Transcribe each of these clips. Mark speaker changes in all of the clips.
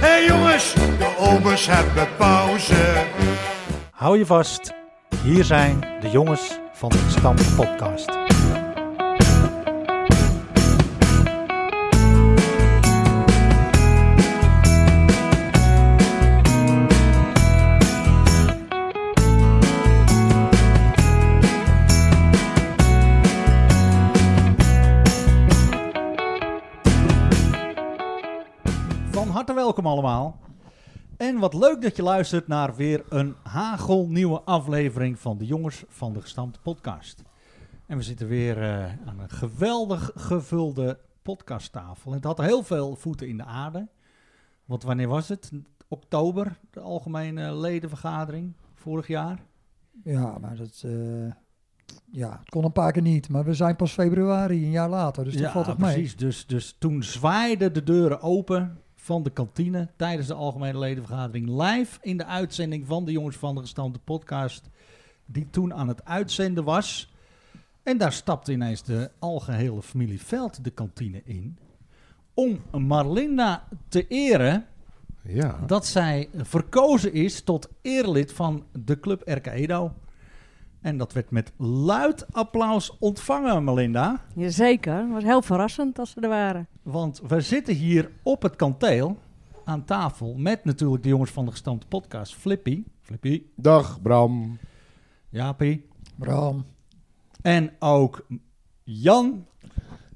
Speaker 1: Hé hey jongens, de obers hebben pauze.
Speaker 2: Hou je vast, hier zijn de jongens van de Stam Podcast. Van harte welkom allemaal. En wat leuk dat je luistert naar weer een hagelnieuwe aflevering van de Jongens van de Gestampte Podcast. En we zitten weer eh, aan een geweldig gevulde podcasttafel. Het had heel veel voeten in de aarde. Want wanneer was het? Oktober, de algemene ledenvergadering vorig jaar.
Speaker 3: Ja, maar dat... eh, ja, het kon een paar keer niet. Maar we zijn pas februari, een jaar later. Dus dat valt toch mee.
Speaker 2: precies. Dus, dus toen zwaaiden de deuren open van de kantine tijdens de algemene ledenvergadering live in de uitzending van de Jongens van de Gestampte podcast, die toen aan het uitzenden was. En daar stapte ineens de algehele familie Veld de kantine in om Marlinda te eren
Speaker 4: Ja,
Speaker 2: dat zij verkozen is tot eerlid van de club RK Edo. En dat werd met luid applaus ontvangen, Marlinda.
Speaker 5: Jazeker, het was heel verrassend als ze er waren.
Speaker 2: Want we zitten hier op het kanteel aan tafel met natuurlijk de jongens van de gestampte podcast. Flippy. Flippy.
Speaker 4: dag Bram.
Speaker 2: Jaapie.
Speaker 3: Bram,
Speaker 2: En ook Jan.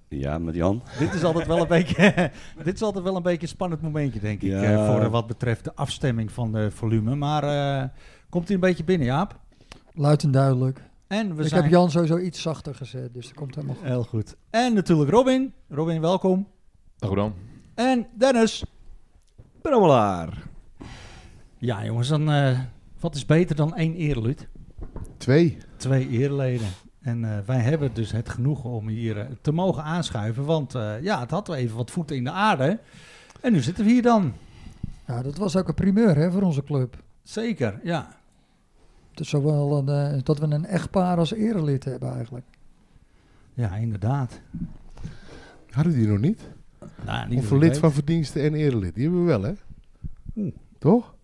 Speaker 6: Ja, met Jan.
Speaker 2: Dit is altijd wel een beetje, dit is altijd wel een beetje een spannend momentje, denk ik.
Speaker 6: Ja.
Speaker 2: eh, voor eh, wat betreft de afstemming van de volume. Maar eh, komt hij een beetje binnen, Jaap?
Speaker 3: luid en duidelijk.
Speaker 2: En we
Speaker 3: Ik
Speaker 2: zijn...
Speaker 3: heb Jan sowieso iets zachter gezet, dus dat komt helemaal goed.
Speaker 2: Heel goed. En natuurlijk Robin. Robin, welkom.
Speaker 7: Dag Bram.
Speaker 2: En Dennis.
Speaker 6: Brammelaar.
Speaker 2: Ja, jongens, dan, eh, wat is beter dan één eerlid?
Speaker 4: Twee.
Speaker 2: twee eerleden. En eh, wij hebben dus het genoegen om hier eh, te mogen aanschuiven. Want eh, ja, het had wel even wat voeten in de aarde. En nu zitten we hier dan.
Speaker 3: Ja, dat was ook een primeur hè, voor onze club.
Speaker 2: Zeker, ja.
Speaker 3: Dus zowel een, eh, dat we een echtpaar als erelid hebben eigenlijk.
Speaker 2: Ja, inderdaad.
Speaker 4: Hadden die nog niet?
Speaker 2: Nou, niet
Speaker 4: Of
Speaker 2: dat ik
Speaker 4: lid
Speaker 2: weet.
Speaker 4: van verdiensten en erelid. Die hebben we wel, hè?
Speaker 2: Oeh.
Speaker 4: Toch?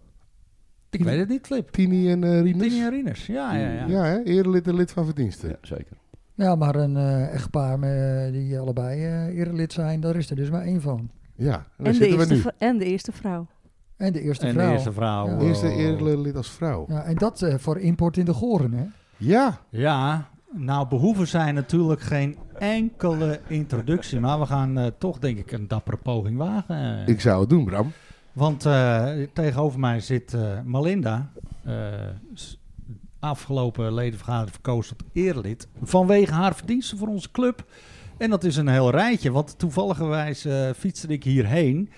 Speaker 2: Ik weet het niet, Flip.
Speaker 4: Tini en eh Rinus?
Speaker 2: Tini en Rinus, ja, ja, ja.
Speaker 4: Ja, hè? Erelid en lid van verdiensten.
Speaker 6: Ja, zeker.
Speaker 3: Ja, maar een eh, echtpaar met- die allebei eh erelid zijn, daar is er dus maar één van.
Speaker 4: Ja, en daar
Speaker 5: en, de
Speaker 4: zitten we
Speaker 5: eerste,
Speaker 4: nu.
Speaker 5: vr- en de eerste vrouw.
Speaker 3: En de eerste
Speaker 2: En de
Speaker 3: vrouw.
Speaker 2: eerste vrouw. eh,
Speaker 3: Ja.
Speaker 2: wow.
Speaker 4: Eerste erelid als vrouw. Ja.
Speaker 3: Ja, en dat eh, voor import in de goren, hè?
Speaker 2: Ja, nou behoeven zij natuurlijk geen enkele introductie. Maar we gaan eh, toch, denk ik, een dappere poging wagen. eh.
Speaker 4: ik zou het doen, Bram.
Speaker 2: Want eh, tegenover mij zit eh, Malinda, eh, s- afgelopen ledenvergadering verkozen tot erelid, vanwege haar verdiensten voor onze club. En dat is een heel rijtje, want toevalligerwijs eh, fietste ik hierheen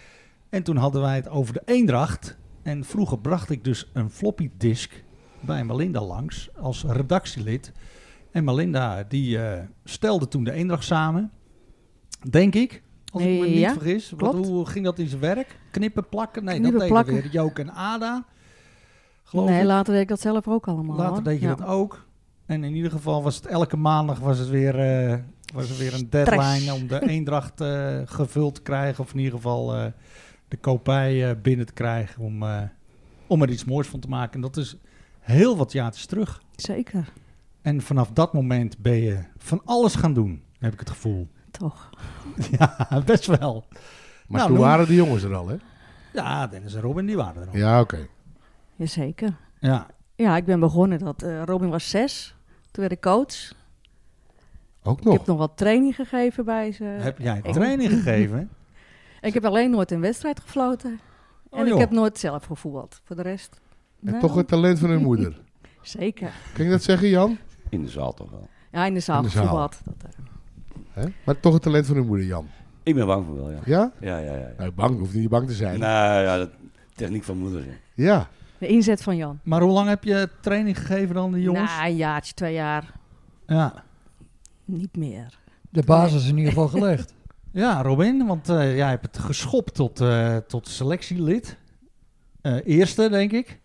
Speaker 2: en toen hadden wij het over de Eendracht. En vroeger bracht ik dus een floppy disk bij Malinda langs als redactielid. En Malinda die eh, stelde toen de Eendracht samen, denk ik. Als ik me niet
Speaker 5: Ja.
Speaker 2: vergis. Wat,
Speaker 5: Klopt.
Speaker 2: hoe ging dat in zijn werk? Knippen, plakken? Nee,
Speaker 5: Knippen,
Speaker 2: dat deden
Speaker 5: plakken.
Speaker 2: weer Jook en Ada. Geloof
Speaker 5: nee,
Speaker 2: ik.
Speaker 5: later deed ik dat zelf ook allemaal.
Speaker 2: Later
Speaker 5: hoor.
Speaker 2: deed je
Speaker 5: Ja.
Speaker 2: dat ook. En in ieder geval was het elke maandag was het weer, eh, was er weer een deadline om de eendracht eh, gevuld te krijgen. Of in ieder geval eh, de kopij eh, binnen te krijgen om, eh, om er iets moois van te maken. En dat is heel wat jaartjes terug.
Speaker 5: Zeker,
Speaker 2: En vanaf dat moment ben je van alles gaan doen, heb ik het gevoel.
Speaker 5: toch.
Speaker 2: Ja, best wel.
Speaker 4: Maar
Speaker 2: Nou,
Speaker 4: toen
Speaker 2: noem-
Speaker 4: waren de jongens er al, hè?
Speaker 2: Ja, Dennis en Robin, die waren er al.
Speaker 4: Ja, oké.
Speaker 5: Jazeker.
Speaker 2: ja.
Speaker 5: Ja, ik ben begonnen dat eh, Robin was zes. Toen werd ik coach.
Speaker 4: Ook
Speaker 5: Ik
Speaker 4: nog.
Speaker 5: heb nog wat training gegeven bij ze.
Speaker 2: Heb jij
Speaker 5: Eh, ik-
Speaker 2: training gegeven?
Speaker 5: Ik heb alleen nooit een wedstrijd gefloten.
Speaker 2: Oh,
Speaker 5: en ik
Speaker 2: joh.
Speaker 5: heb nooit zelf gevoetbald. Voor de rest.
Speaker 4: En
Speaker 5: nou,
Speaker 4: toch het talent van hun moeder.
Speaker 5: Zeker.
Speaker 4: Kan je dat zeggen, Jan?
Speaker 6: In de zaal toch wel.
Speaker 5: Ja, in de zaal
Speaker 4: In de zaal.
Speaker 5: gevoetbald. Dat, eh,
Speaker 4: Hè? Maar toch het talent van hun moeder, Jan.
Speaker 6: Ik ben bang voor wel, ja.
Speaker 4: Ja?
Speaker 6: Ja, ja, ja. ja.
Speaker 4: Nou, bang. Hoeft niet bang te zijn.
Speaker 6: Nou ja, dat techniek van moeder. ja.
Speaker 4: Ja.
Speaker 5: de inzet van Jan.
Speaker 2: Maar hoe lang heb je training gegeven dan, de jongens?
Speaker 5: Na een jaartje, twee jaar.
Speaker 2: Ja.
Speaker 5: Niet meer.
Speaker 3: De basis is in ieder geval gelegd.
Speaker 2: Ja, Robin, want eh, jij hebt het geschopt tot, eh, tot selectielid. Eh, eerste, denk ik.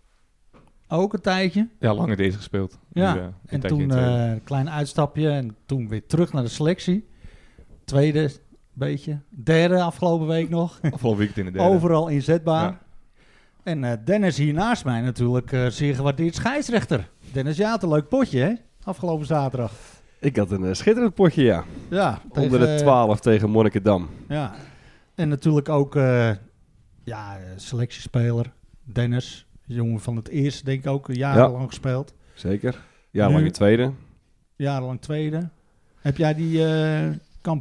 Speaker 2: Ook een tijdje.
Speaker 7: Ja, lang het eerste gespeeld.
Speaker 2: Ja,
Speaker 7: eh, een
Speaker 2: En
Speaker 7: tijdje
Speaker 2: toen
Speaker 7: in
Speaker 2: eh,
Speaker 7: tweede.
Speaker 2: een klein uitstapje en toen weer terug naar de selectie. Tweede, beetje. Derde afgelopen week nog.
Speaker 7: Afgelopen weekend in de derde.
Speaker 2: Overal inzetbaar.
Speaker 7: Ja.
Speaker 2: En eh, Dennis hier naast mij natuurlijk eh, zeer gewaardeerd scheidsrechter. Dennis, ja, had een leuk potje, hè? Afgelopen zaterdag.
Speaker 8: Ik had een eh, schitterend potje, ja.
Speaker 2: Ja,
Speaker 8: Onder
Speaker 4: eh,
Speaker 8: de 12 tegen Monnikendam.
Speaker 2: eh, Ja. En natuurlijk ook eh, ja, eh, selectiespeler Dennis. Jongen van het eerste, denk ik ook. Jarenlang gespeeld.
Speaker 8: Zeker. Ja, lang
Speaker 2: Nu-
Speaker 8: in tweede.
Speaker 2: Jarenlang tweede. Heb jij die eh,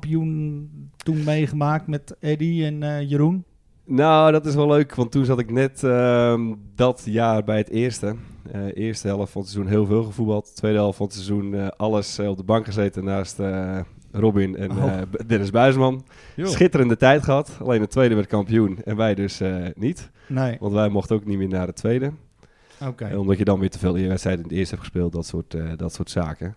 Speaker 2: kampioen toen meegemaakt met Eddy en eh, Jeroen?
Speaker 8: Nou, dat is wel leuk, want toen zat ik net ehm, dat jaar bij het eerste. Eh, eerste helft van het seizoen heel veel gevoetbald. Tweede helft van het seizoen eh, alles eh, op de bank gezeten naast eh, Robin en
Speaker 2: Oh.
Speaker 8: eh, B- Dennis Buisman. Schitterende tijd gehad. Alleen de tweede werd kampioen en wij dus eh, niet.
Speaker 2: Nee,
Speaker 8: Want wij mochten ook niet meer naar de tweede.
Speaker 2: oké.
Speaker 8: Eh, Omdat je dan weer te veel wedstrijden in het eerst hebt gespeeld, dat soort, eh, dat soort zaken.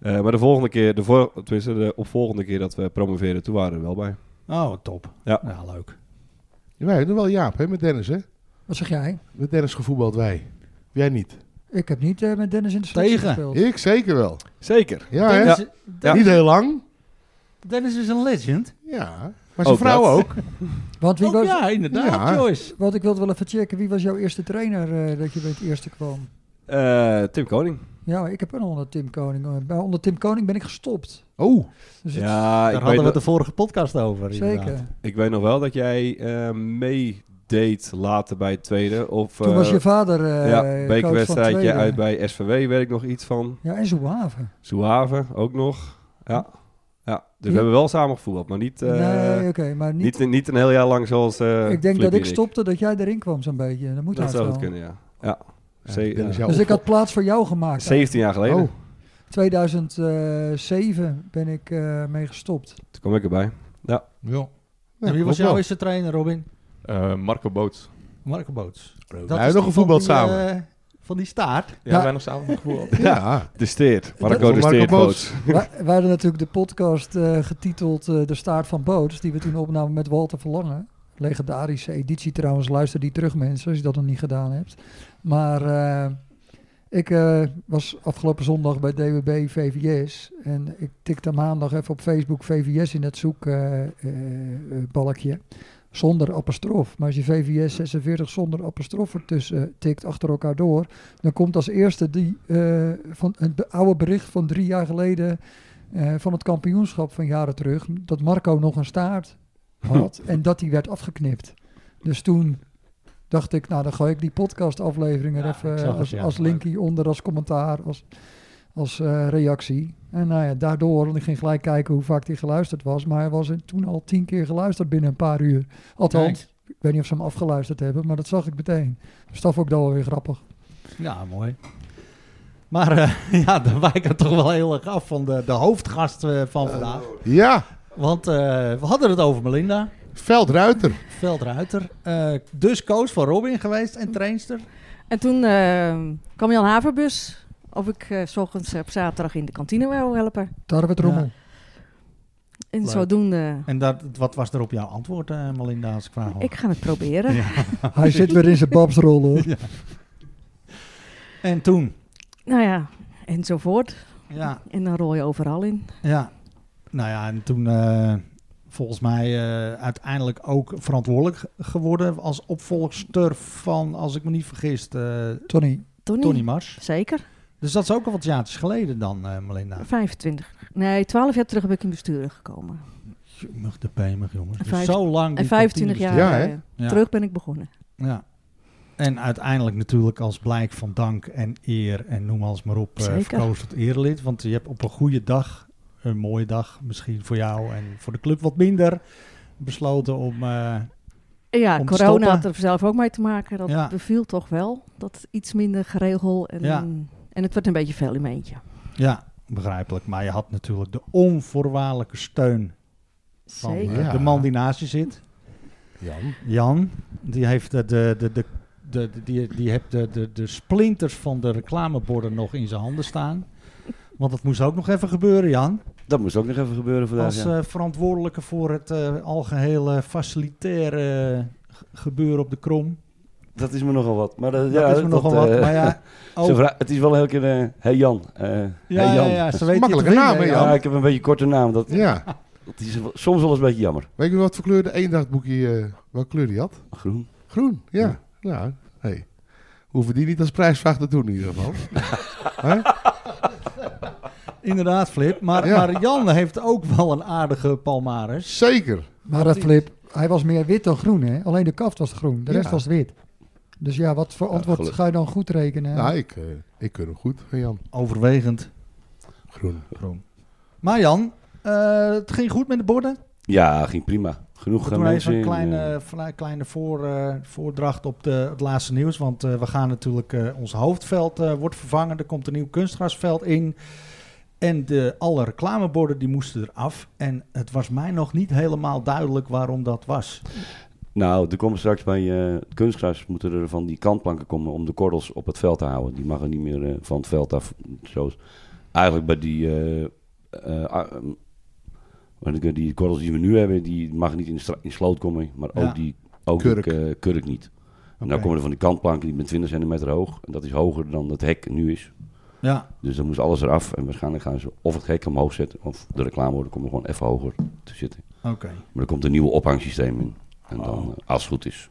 Speaker 8: Eh, maar de volgende keer, de, vor- tenminste, de opvolgende keer dat we promoveerden, toen waren we er wel bij.
Speaker 2: Oh, top.
Speaker 8: Ja.
Speaker 2: Nou, leuk.
Speaker 4: Ja, wij doen wel Jaap, hè, met Dennis, hè?
Speaker 3: Wat zeg jij?
Speaker 4: Met Dennis gevoetbald wij. Jij niet.
Speaker 3: Ik heb niet eh, met Dennis in de selectie
Speaker 2: Tegen.
Speaker 3: gespeeld.
Speaker 4: Ik zeker wel.
Speaker 8: Zeker.
Speaker 4: Ja, hè?
Speaker 2: Dennis,
Speaker 8: Ja.
Speaker 4: Niet heel lang.
Speaker 2: Dennis is een legend.
Speaker 4: Ja. Maar zijn
Speaker 8: Ook
Speaker 4: vrouw
Speaker 8: dat.
Speaker 4: ook.
Speaker 3: Want wie
Speaker 2: Oh,
Speaker 3: was,
Speaker 2: ja, inderdaad,
Speaker 4: Ja.
Speaker 2: Joyce.
Speaker 3: want ik wilde wel even checken, wie was jouw eerste trainer eh, dat je bij het eerste kwam?
Speaker 8: Eh, Tim Koning.
Speaker 3: Ja, maar ik heb een onder Tim Koning. eh, bij- Onder Tim Koning ben ik gestopt.
Speaker 4: Oh,
Speaker 3: Dus het-
Speaker 8: Ja,
Speaker 2: Daar
Speaker 8: ik
Speaker 2: hadden
Speaker 8: weet,
Speaker 2: we
Speaker 8: nog,
Speaker 2: het de vorige podcast over.
Speaker 3: zeker.
Speaker 2: inderdaad.
Speaker 8: ik weet nog wel dat jij eh, meedeed later bij het tweede. Of,
Speaker 3: Toen was
Speaker 8: eh,
Speaker 3: je vader eh
Speaker 8: ja,
Speaker 3: coach van
Speaker 8: bekerwedstrijdje
Speaker 3: tweede.
Speaker 8: uit bij SVW, weet ik nog iets van.
Speaker 3: Ja, en Zouave.
Speaker 8: Zouave ook nog. Ja. ja. Dus
Speaker 3: Ja.
Speaker 8: we hebben wel samen gevoetbald, maar niet, eh,
Speaker 3: nee, oké, maar niet,
Speaker 8: niet, niet een heel jaar lang zoals. eh,
Speaker 3: ik denk
Speaker 8: Flip
Speaker 3: dat
Speaker 8: en
Speaker 3: ik stopte dat jij erin kwam zo'n beetje. Dat moet
Speaker 8: Dat
Speaker 3: haast
Speaker 8: zou goed
Speaker 3: wel.
Speaker 8: kunnen, ja. Ja.
Speaker 4: Ja,
Speaker 8: Ze-
Speaker 4: Dennis,
Speaker 8: ja.
Speaker 4: jouw
Speaker 3: Dus ik had
Speaker 4: opvol-
Speaker 3: plaats voor jou gemaakt.
Speaker 8: 17 jaar geleden.
Speaker 4: Oh,
Speaker 3: 2007 ben ik eh, mee gestopt.
Speaker 8: Toen kwam ik erbij.
Speaker 2: Ja.
Speaker 4: Ja,
Speaker 2: En wie was
Speaker 4: klopt
Speaker 2: jouw
Speaker 4: wel.
Speaker 2: eerste trainer, Robin?
Speaker 7: Eh, Marco Boots.
Speaker 2: Marco Boots.
Speaker 4: Wij hebben nog
Speaker 2: die van
Speaker 4: gevoetbald
Speaker 2: die,
Speaker 4: samen.
Speaker 2: eh, van die staart.
Speaker 7: Ja,
Speaker 3: Ja.
Speaker 7: wij nog samen gevoetbald.
Speaker 4: ja.
Speaker 8: De Steert. Marco
Speaker 4: Van
Speaker 8: de
Speaker 4: Marco
Speaker 8: Steert
Speaker 4: Boots.
Speaker 8: Boots.
Speaker 3: Wij wij hadden natuurlijk de podcast eh, getiteld eh, De Staart van Boots, die we toen opnamen met Walter Verlangen. Legendarische editie trouwens, luister die terug mensen, als je dat nog niet gedaan hebt. Maar eh, ik eh, was afgelopen zondag bij DWB VVS en ik tikte maandag even op Facebook VVS in het zoekbalkje. zonder apostrof. Maar als je VVS 46 zonder apostrof ertussen tikt achter elkaar door, dan komt als eerste die, eh, van het be- oude bericht van drie jaar geleden eh, van het kampioenschap van jaren terug. Dat Marco nog een staart had en dat die werd afgeknipt. Dus toen dacht ik, nou dan gooi ik die podcastaflevering er
Speaker 2: Ja,
Speaker 3: even
Speaker 2: ik
Speaker 3: eh,
Speaker 2: zag het,
Speaker 3: als,
Speaker 2: ja.
Speaker 3: als link hieronder, als commentaar, als, als eh, reactie. En nou ja, daardoor, want ik ging gelijk kijken hoe vaak die geluisterd was. Maar hij was toen al tien keer geluisterd binnen een paar uur. Althans, ik weet niet of ze hem afgeluisterd hebben, maar dat zag ik meteen. Dus dat vond ik dan wel weer grappig.
Speaker 2: Ja, mooi. Maar eh, ja, dan wijken we toch wel heel erg af van de, de hoofdgast eh, van vandaag.
Speaker 4: ja.
Speaker 2: Want eh, we hadden het over Melinda
Speaker 4: Veldruiter.
Speaker 2: Veldruiter. eh, dus coach van Robin geweest en trainster.
Speaker 5: En toen eh, kwam Jan Haverbus of ik eh, 's ochtends op zaterdag in de kantine wou helpen.
Speaker 3: Tarwe Trommel.
Speaker 2: Ja.
Speaker 5: En
Speaker 2: Leuk.
Speaker 5: zodoende,
Speaker 2: En dat, wat was er op jouw antwoord, eh, Melinda, als ik vraag mag?
Speaker 5: ik ga het proberen.
Speaker 3: Hij zit weer in zijn babsrol hoor.
Speaker 2: En toen?
Speaker 5: Nou ja, enzovoort.
Speaker 2: Ja,
Speaker 5: En dan rol je overal in.
Speaker 2: ja. Nou ja, en toen eh, volgens mij eh, uiteindelijk ook verantwoordelijk ge- geworden als opvolgster van, als ik me niet vergis, eh,
Speaker 3: Tony,
Speaker 5: Tony?
Speaker 2: Tony Mars.
Speaker 5: Zeker.
Speaker 2: Dus dat is ook al wat jaartjes geleden dan, eh Melinda.
Speaker 5: 25. Nee, 12 jaar terug ben ik in besturen gekomen.
Speaker 2: Mug de pemig, jongens. Dus
Speaker 5: Vijf-
Speaker 2: zo lang.
Speaker 5: En
Speaker 2: die
Speaker 5: 25
Speaker 2: kantine
Speaker 5: jaar
Speaker 4: Ja, hè?
Speaker 5: eh,
Speaker 2: Ja.
Speaker 5: terug ben ik begonnen.
Speaker 2: bestuur. Ja. En uiteindelijk natuurlijk als blijk van dank en eer en noem alles maar op, eh,
Speaker 5: Zeker.
Speaker 2: verkozen tot erelid. Want je hebt op een goede dag, een mooie dag misschien voor jou en voor de club wat minder, besloten om... eh,
Speaker 5: En Ja,
Speaker 2: Om te
Speaker 5: corona
Speaker 2: stoppen.
Speaker 5: had er zelf ook mee te maken. Dat
Speaker 2: Ja.
Speaker 5: beviel toch wel. Dat iets minder geregel. En,
Speaker 2: Ja.
Speaker 5: en het werd een beetje veel in mijn eentje.
Speaker 2: ja, begrijpelijk. Maar je had natuurlijk de onvoorwaardelijke steun van eh,
Speaker 5: Zeker.
Speaker 4: Ja.
Speaker 2: de man die naast je zit.
Speaker 4: Jan.
Speaker 2: Jan, die heeft de, de, de, de, de, de- die, die heeft de, de, de splinters van de reclameborden nog in zijn handen staan. Want dat moest ook nog even gebeuren, Jan.
Speaker 6: Dat moest ook nog even gebeuren vandaag.
Speaker 2: Als
Speaker 6: ja.
Speaker 2: eh, verantwoordelijke voor het eh, algehele facilitaire eh, ge- gebeuren op de krom.
Speaker 6: Dat is me nogal wat. Maar
Speaker 2: Dat
Speaker 6: dat, Eh, ja,
Speaker 2: is me nogal wat.
Speaker 6: eh,
Speaker 2: Maar ja,
Speaker 6: ze
Speaker 2: oh,
Speaker 6: vra- het is wel heel keer... eh hey Jan. eh
Speaker 2: ja,
Speaker 6: hey
Speaker 2: ja,
Speaker 6: Jan.
Speaker 2: ja, ze weten
Speaker 4: Makkelijke
Speaker 2: het te
Speaker 4: naam, hè,
Speaker 2: vinden,
Speaker 4: Jan?
Speaker 6: Ja, ik heb een beetje korte naam. Dat,
Speaker 4: Ja.
Speaker 6: Dat is wel- soms wel eens een beetje jammer.
Speaker 4: Weet je wat voor kleur de eendrachtboekje, eh welke kleur die had?
Speaker 6: Groen.
Speaker 4: Groen, ja. Nou, hey. Hoeven die niet als prijsvraag te doen in ieder geval.
Speaker 2: Inderdaad, Flip. Maar,
Speaker 4: Ja.
Speaker 2: maar Jan heeft ook wel een aardige palmares.
Speaker 4: Zeker.
Speaker 3: Maar dat Flip, hij was meer wit dan groen, hè? Alleen de kaft was groen, de rest
Speaker 4: Ja.
Speaker 3: was wit. Dus ja, wat voor antwoord
Speaker 6: gelukkig.
Speaker 3: ga je dan goed rekenen?
Speaker 4: Nou, ik, eh, ik keur hem goed van Jan.
Speaker 2: Overwegend
Speaker 4: Groen.
Speaker 2: groen. Maar Jan, eh, het ging goed met de borden.
Speaker 6: Ja, ging prima. Genoeg
Speaker 2: We
Speaker 6: gaan
Speaker 2: doen even
Speaker 6: mensen
Speaker 2: een
Speaker 6: in, eh,
Speaker 2: kleine, vla- kleine voor, eh, voordracht op de, het laatste nieuws. Want eh, we gaan natuurlijk, eh, ons hoofdveld eh, wordt vervangen. Er komt een nieuw kunstgrasveld in. En de, alle reclameborden die moesten eraf. En het was mij nog niet helemaal duidelijk waarom dat was.
Speaker 6: Nou, er komen straks bij eh, het kunstgras moeten er van die kantplanken komen om de kordels op het veld te houden. Die mag er niet meer eh, van het veld af. Zoals eigenlijk bij die, eh, eh, ah, ehm, wat ik, eh, die kordels die we nu hebben, die mag niet in, de stra- in sloot komen, maar ook
Speaker 2: Ja.
Speaker 6: die ook
Speaker 4: Kurk.
Speaker 6: die, eh, kurk niet. En
Speaker 2: Oké.
Speaker 6: dan komen er van die kantplanken die met 20 centimeter hoog. En dat is hoger dan het hek nu is.
Speaker 2: Ja,
Speaker 6: Dus dan moest alles eraf. En waarschijnlijk gaan ze of het hek omhoog zetten of de reclameborden komen gewoon even hoger te zitten.
Speaker 2: oké.
Speaker 6: Maar er komt een nieuw ophangsysteem in. En dan,
Speaker 2: Oh.
Speaker 6: eh, als het goed is.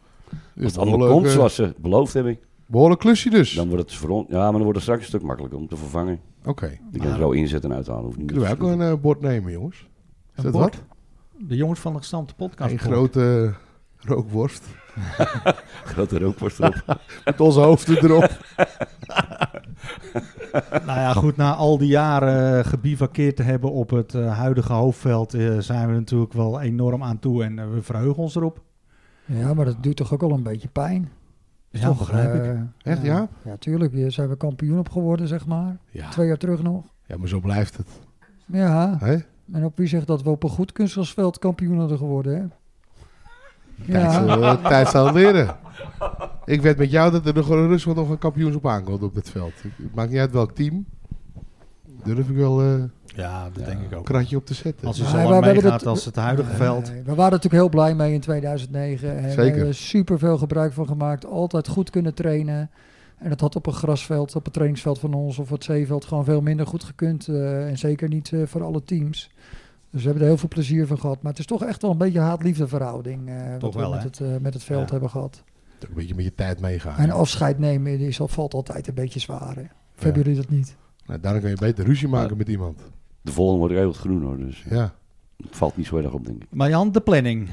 Speaker 4: Dus
Speaker 6: Als het allemaal
Speaker 4: behoorlijk,
Speaker 6: komt
Speaker 4: eh,
Speaker 6: zoals ze beloofd hebben,
Speaker 4: Behoorlijk klusje dus.
Speaker 6: dan wordt het voor ons- Ja, maar dan wordt het straks een stuk makkelijker om te vervangen.
Speaker 4: Oké.
Speaker 6: Je kan
Speaker 2: Maar-
Speaker 6: zo inzetten en uithalen. Hoeft niet
Speaker 4: Kunnen wij ook een eh, bord nemen, jongens? Is
Speaker 2: Een
Speaker 4: dat
Speaker 2: bord?
Speaker 4: wat?
Speaker 2: De jongens van de gestampte podcast.
Speaker 4: Een grote eh, rookworst.
Speaker 6: grote rookworst erop.
Speaker 4: Met onze hoofden erop.
Speaker 2: Nou ja, goed, na al die jaren eh gebivakkeerd te hebben op het eh, huidige hoofdveld... eh, zijn we natuurlijk wel enorm aan toe en eh, we verheugen ons erop.
Speaker 3: Ja, maar dat doet toch ook al een beetje pijn?
Speaker 2: Ja,
Speaker 3: toch,
Speaker 2: begrijp ik.
Speaker 3: eh,
Speaker 4: Echt,
Speaker 3: ja?
Speaker 4: Jaap?
Speaker 3: Ja, tuurlijk. Hier zijn we kampioen op geworden, zeg maar.
Speaker 4: Ja.
Speaker 3: Twee jaar terug nog.
Speaker 4: ja, maar zo blijft het.
Speaker 3: Ja,
Speaker 4: Hè?
Speaker 3: en op wie zegt dat we op een goed kunstgrasveld kampioen hadden geworden, hè?
Speaker 4: Tijd,
Speaker 3: Ja,
Speaker 4: zal- eh, tijd zal leren. Ik weet met jou dat er nog een Rusland nog een kampioens op aankomt op dit veld. Ik- Het maakt niet uit welk team. Durf ik wel eh,
Speaker 2: Ja, dat denk ik
Speaker 4: een
Speaker 2: ook.
Speaker 4: kratje op te zetten.
Speaker 2: Als je
Speaker 3: Nee,
Speaker 2: zo
Speaker 3: maar
Speaker 2: lang
Speaker 3: we hebben
Speaker 2: meegaat
Speaker 3: dat-
Speaker 2: als het huidige
Speaker 3: Nee,
Speaker 2: veld.
Speaker 3: nee, we waren natuurlijk heel blij mee in 2009. En
Speaker 4: Zeker.
Speaker 3: We hebben superveel gebruik van gemaakt. Altijd goed kunnen trainen. En dat had op een grasveld, op het trainingsveld van ons of het zeeveld gewoon veel minder goed gekund. eh, en zeker niet eh, voor alle teams. Dus we hebben er heel veel plezier van gehad. Maar het is toch echt wel een beetje haat-liefde verhouding. eh, wat
Speaker 2: wel,
Speaker 3: we met
Speaker 2: hè?
Speaker 3: het, eh, met het veld
Speaker 2: Ja.
Speaker 3: hebben gehad.
Speaker 4: Een beetje met je tijd meegaan.
Speaker 3: En afscheid nemen is, al- valt altijd een beetje zwaar. hè. Of hebben jullie dat niet?
Speaker 4: Nou, daarom kun je beter ruzie maken
Speaker 6: Ja.
Speaker 4: met iemand.
Speaker 6: De volgende wordt heel wat groen hoor, dus
Speaker 4: Ja.
Speaker 6: het valt niet zo erg op denk ik.
Speaker 2: Maar Jan, de planning.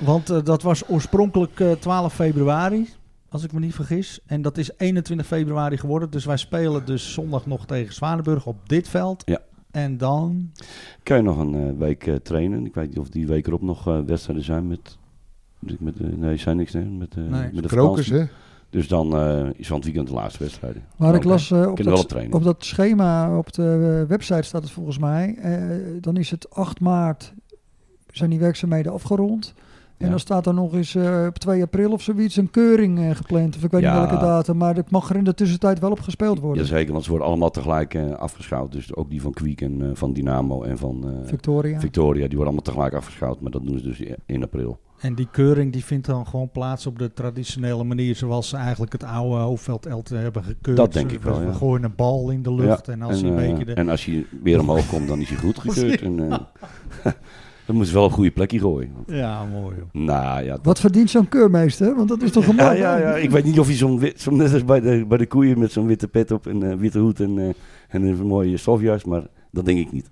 Speaker 2: Want eh, dat was oorspronkelijk eh, 12 februari, als ik me niet vergis. En dat is 21 februari geworden. Dus wij spelen dus zondag nog tegen Zwanenburg op dit veld.
Speaker 6: Ja.
Speaker 2: En dan...
Speaker 6: Kan je nog een eh, week eh, trainen? Ik weet niet of die week erop nog eh, wedstrijden zijn met... met eh, nee, zijn niks hè? Met, eh,
Speaker 2: Nee.
Speaker 6: met de
Speaker 4: Krokers,
Speaker 6: vakantie.
Speaker 4: hè?
Speaker 6: Dus dan eh, is van het weekend de laatste wedstrijden.
Speaker 3: Maar
Speaker 6: Dan
Speaker 3: ik las eh, op,
Speaker 6: kunnen we wel
Speaker 3: dat,
Speaker 6: op trainen.
Speaker 3: op dat schema, op de eh, website staat het volgens mij. eh, dan is het 8 maart zijn die werkzaamheden afgerond. En
Speaker 6: Ja.
Speaker 3: dan staat er nog eens eh, op 2 april of zoiets een keuring eh, gepland. Of ik weet
Speaker 6: Ja.
Speaker 3: niet welke datum. Maar dat mag er in de tussentijd wel op gespeeld worden.
Speaker 6: Jazeker, want ze worden allemaal tegelijk eh, afgeschouwd. Dus ook die van Kwiek en eh, van Dynamo en van eh,
Speaker 3: Victoria.
Speaker 6: Victoria. Die worden allemaal tegelijk afgeschouwd, maar dat doen ze dus in april.
Speaker 2: En die keuring die vindt dan gewoon plaats op de traditionele manier zoals ze eigenlijk het oude hoofdveld LT hebben gekeurd.
Speaker 6: Dat denk
Speaker 2: Ze-
Speaker 6: ik wel,
Speaker 2: We
Speaker 6: ja.
Speaker 2: gooien een bal in de lucht en als hij een
Speaker 6: eh,
Speaker 2: beetje de...
Speaker 6: en als hij weer omhoog komt, dan is hij goed gekeurd. en, eh, dan moeten ze wel op een goede plekje gooien.
Speaker 2: Ja, mooi joh.
Speaker 6: Nou ja,
Speaker 3: Wat verdient zo'n keurmeester? Want dat is toch een
Speaker 6: ja,
Speaker 2: Nou,
Speaker 3: man?
Speaker 6: ja, ja, ik weet niet of hij zo'n wit, zo'n net als bij de, bij de koeien met zo'n witte pet op en eh, witte hoed en, eh, en een mooie stofjas, maar dat denk ik niet.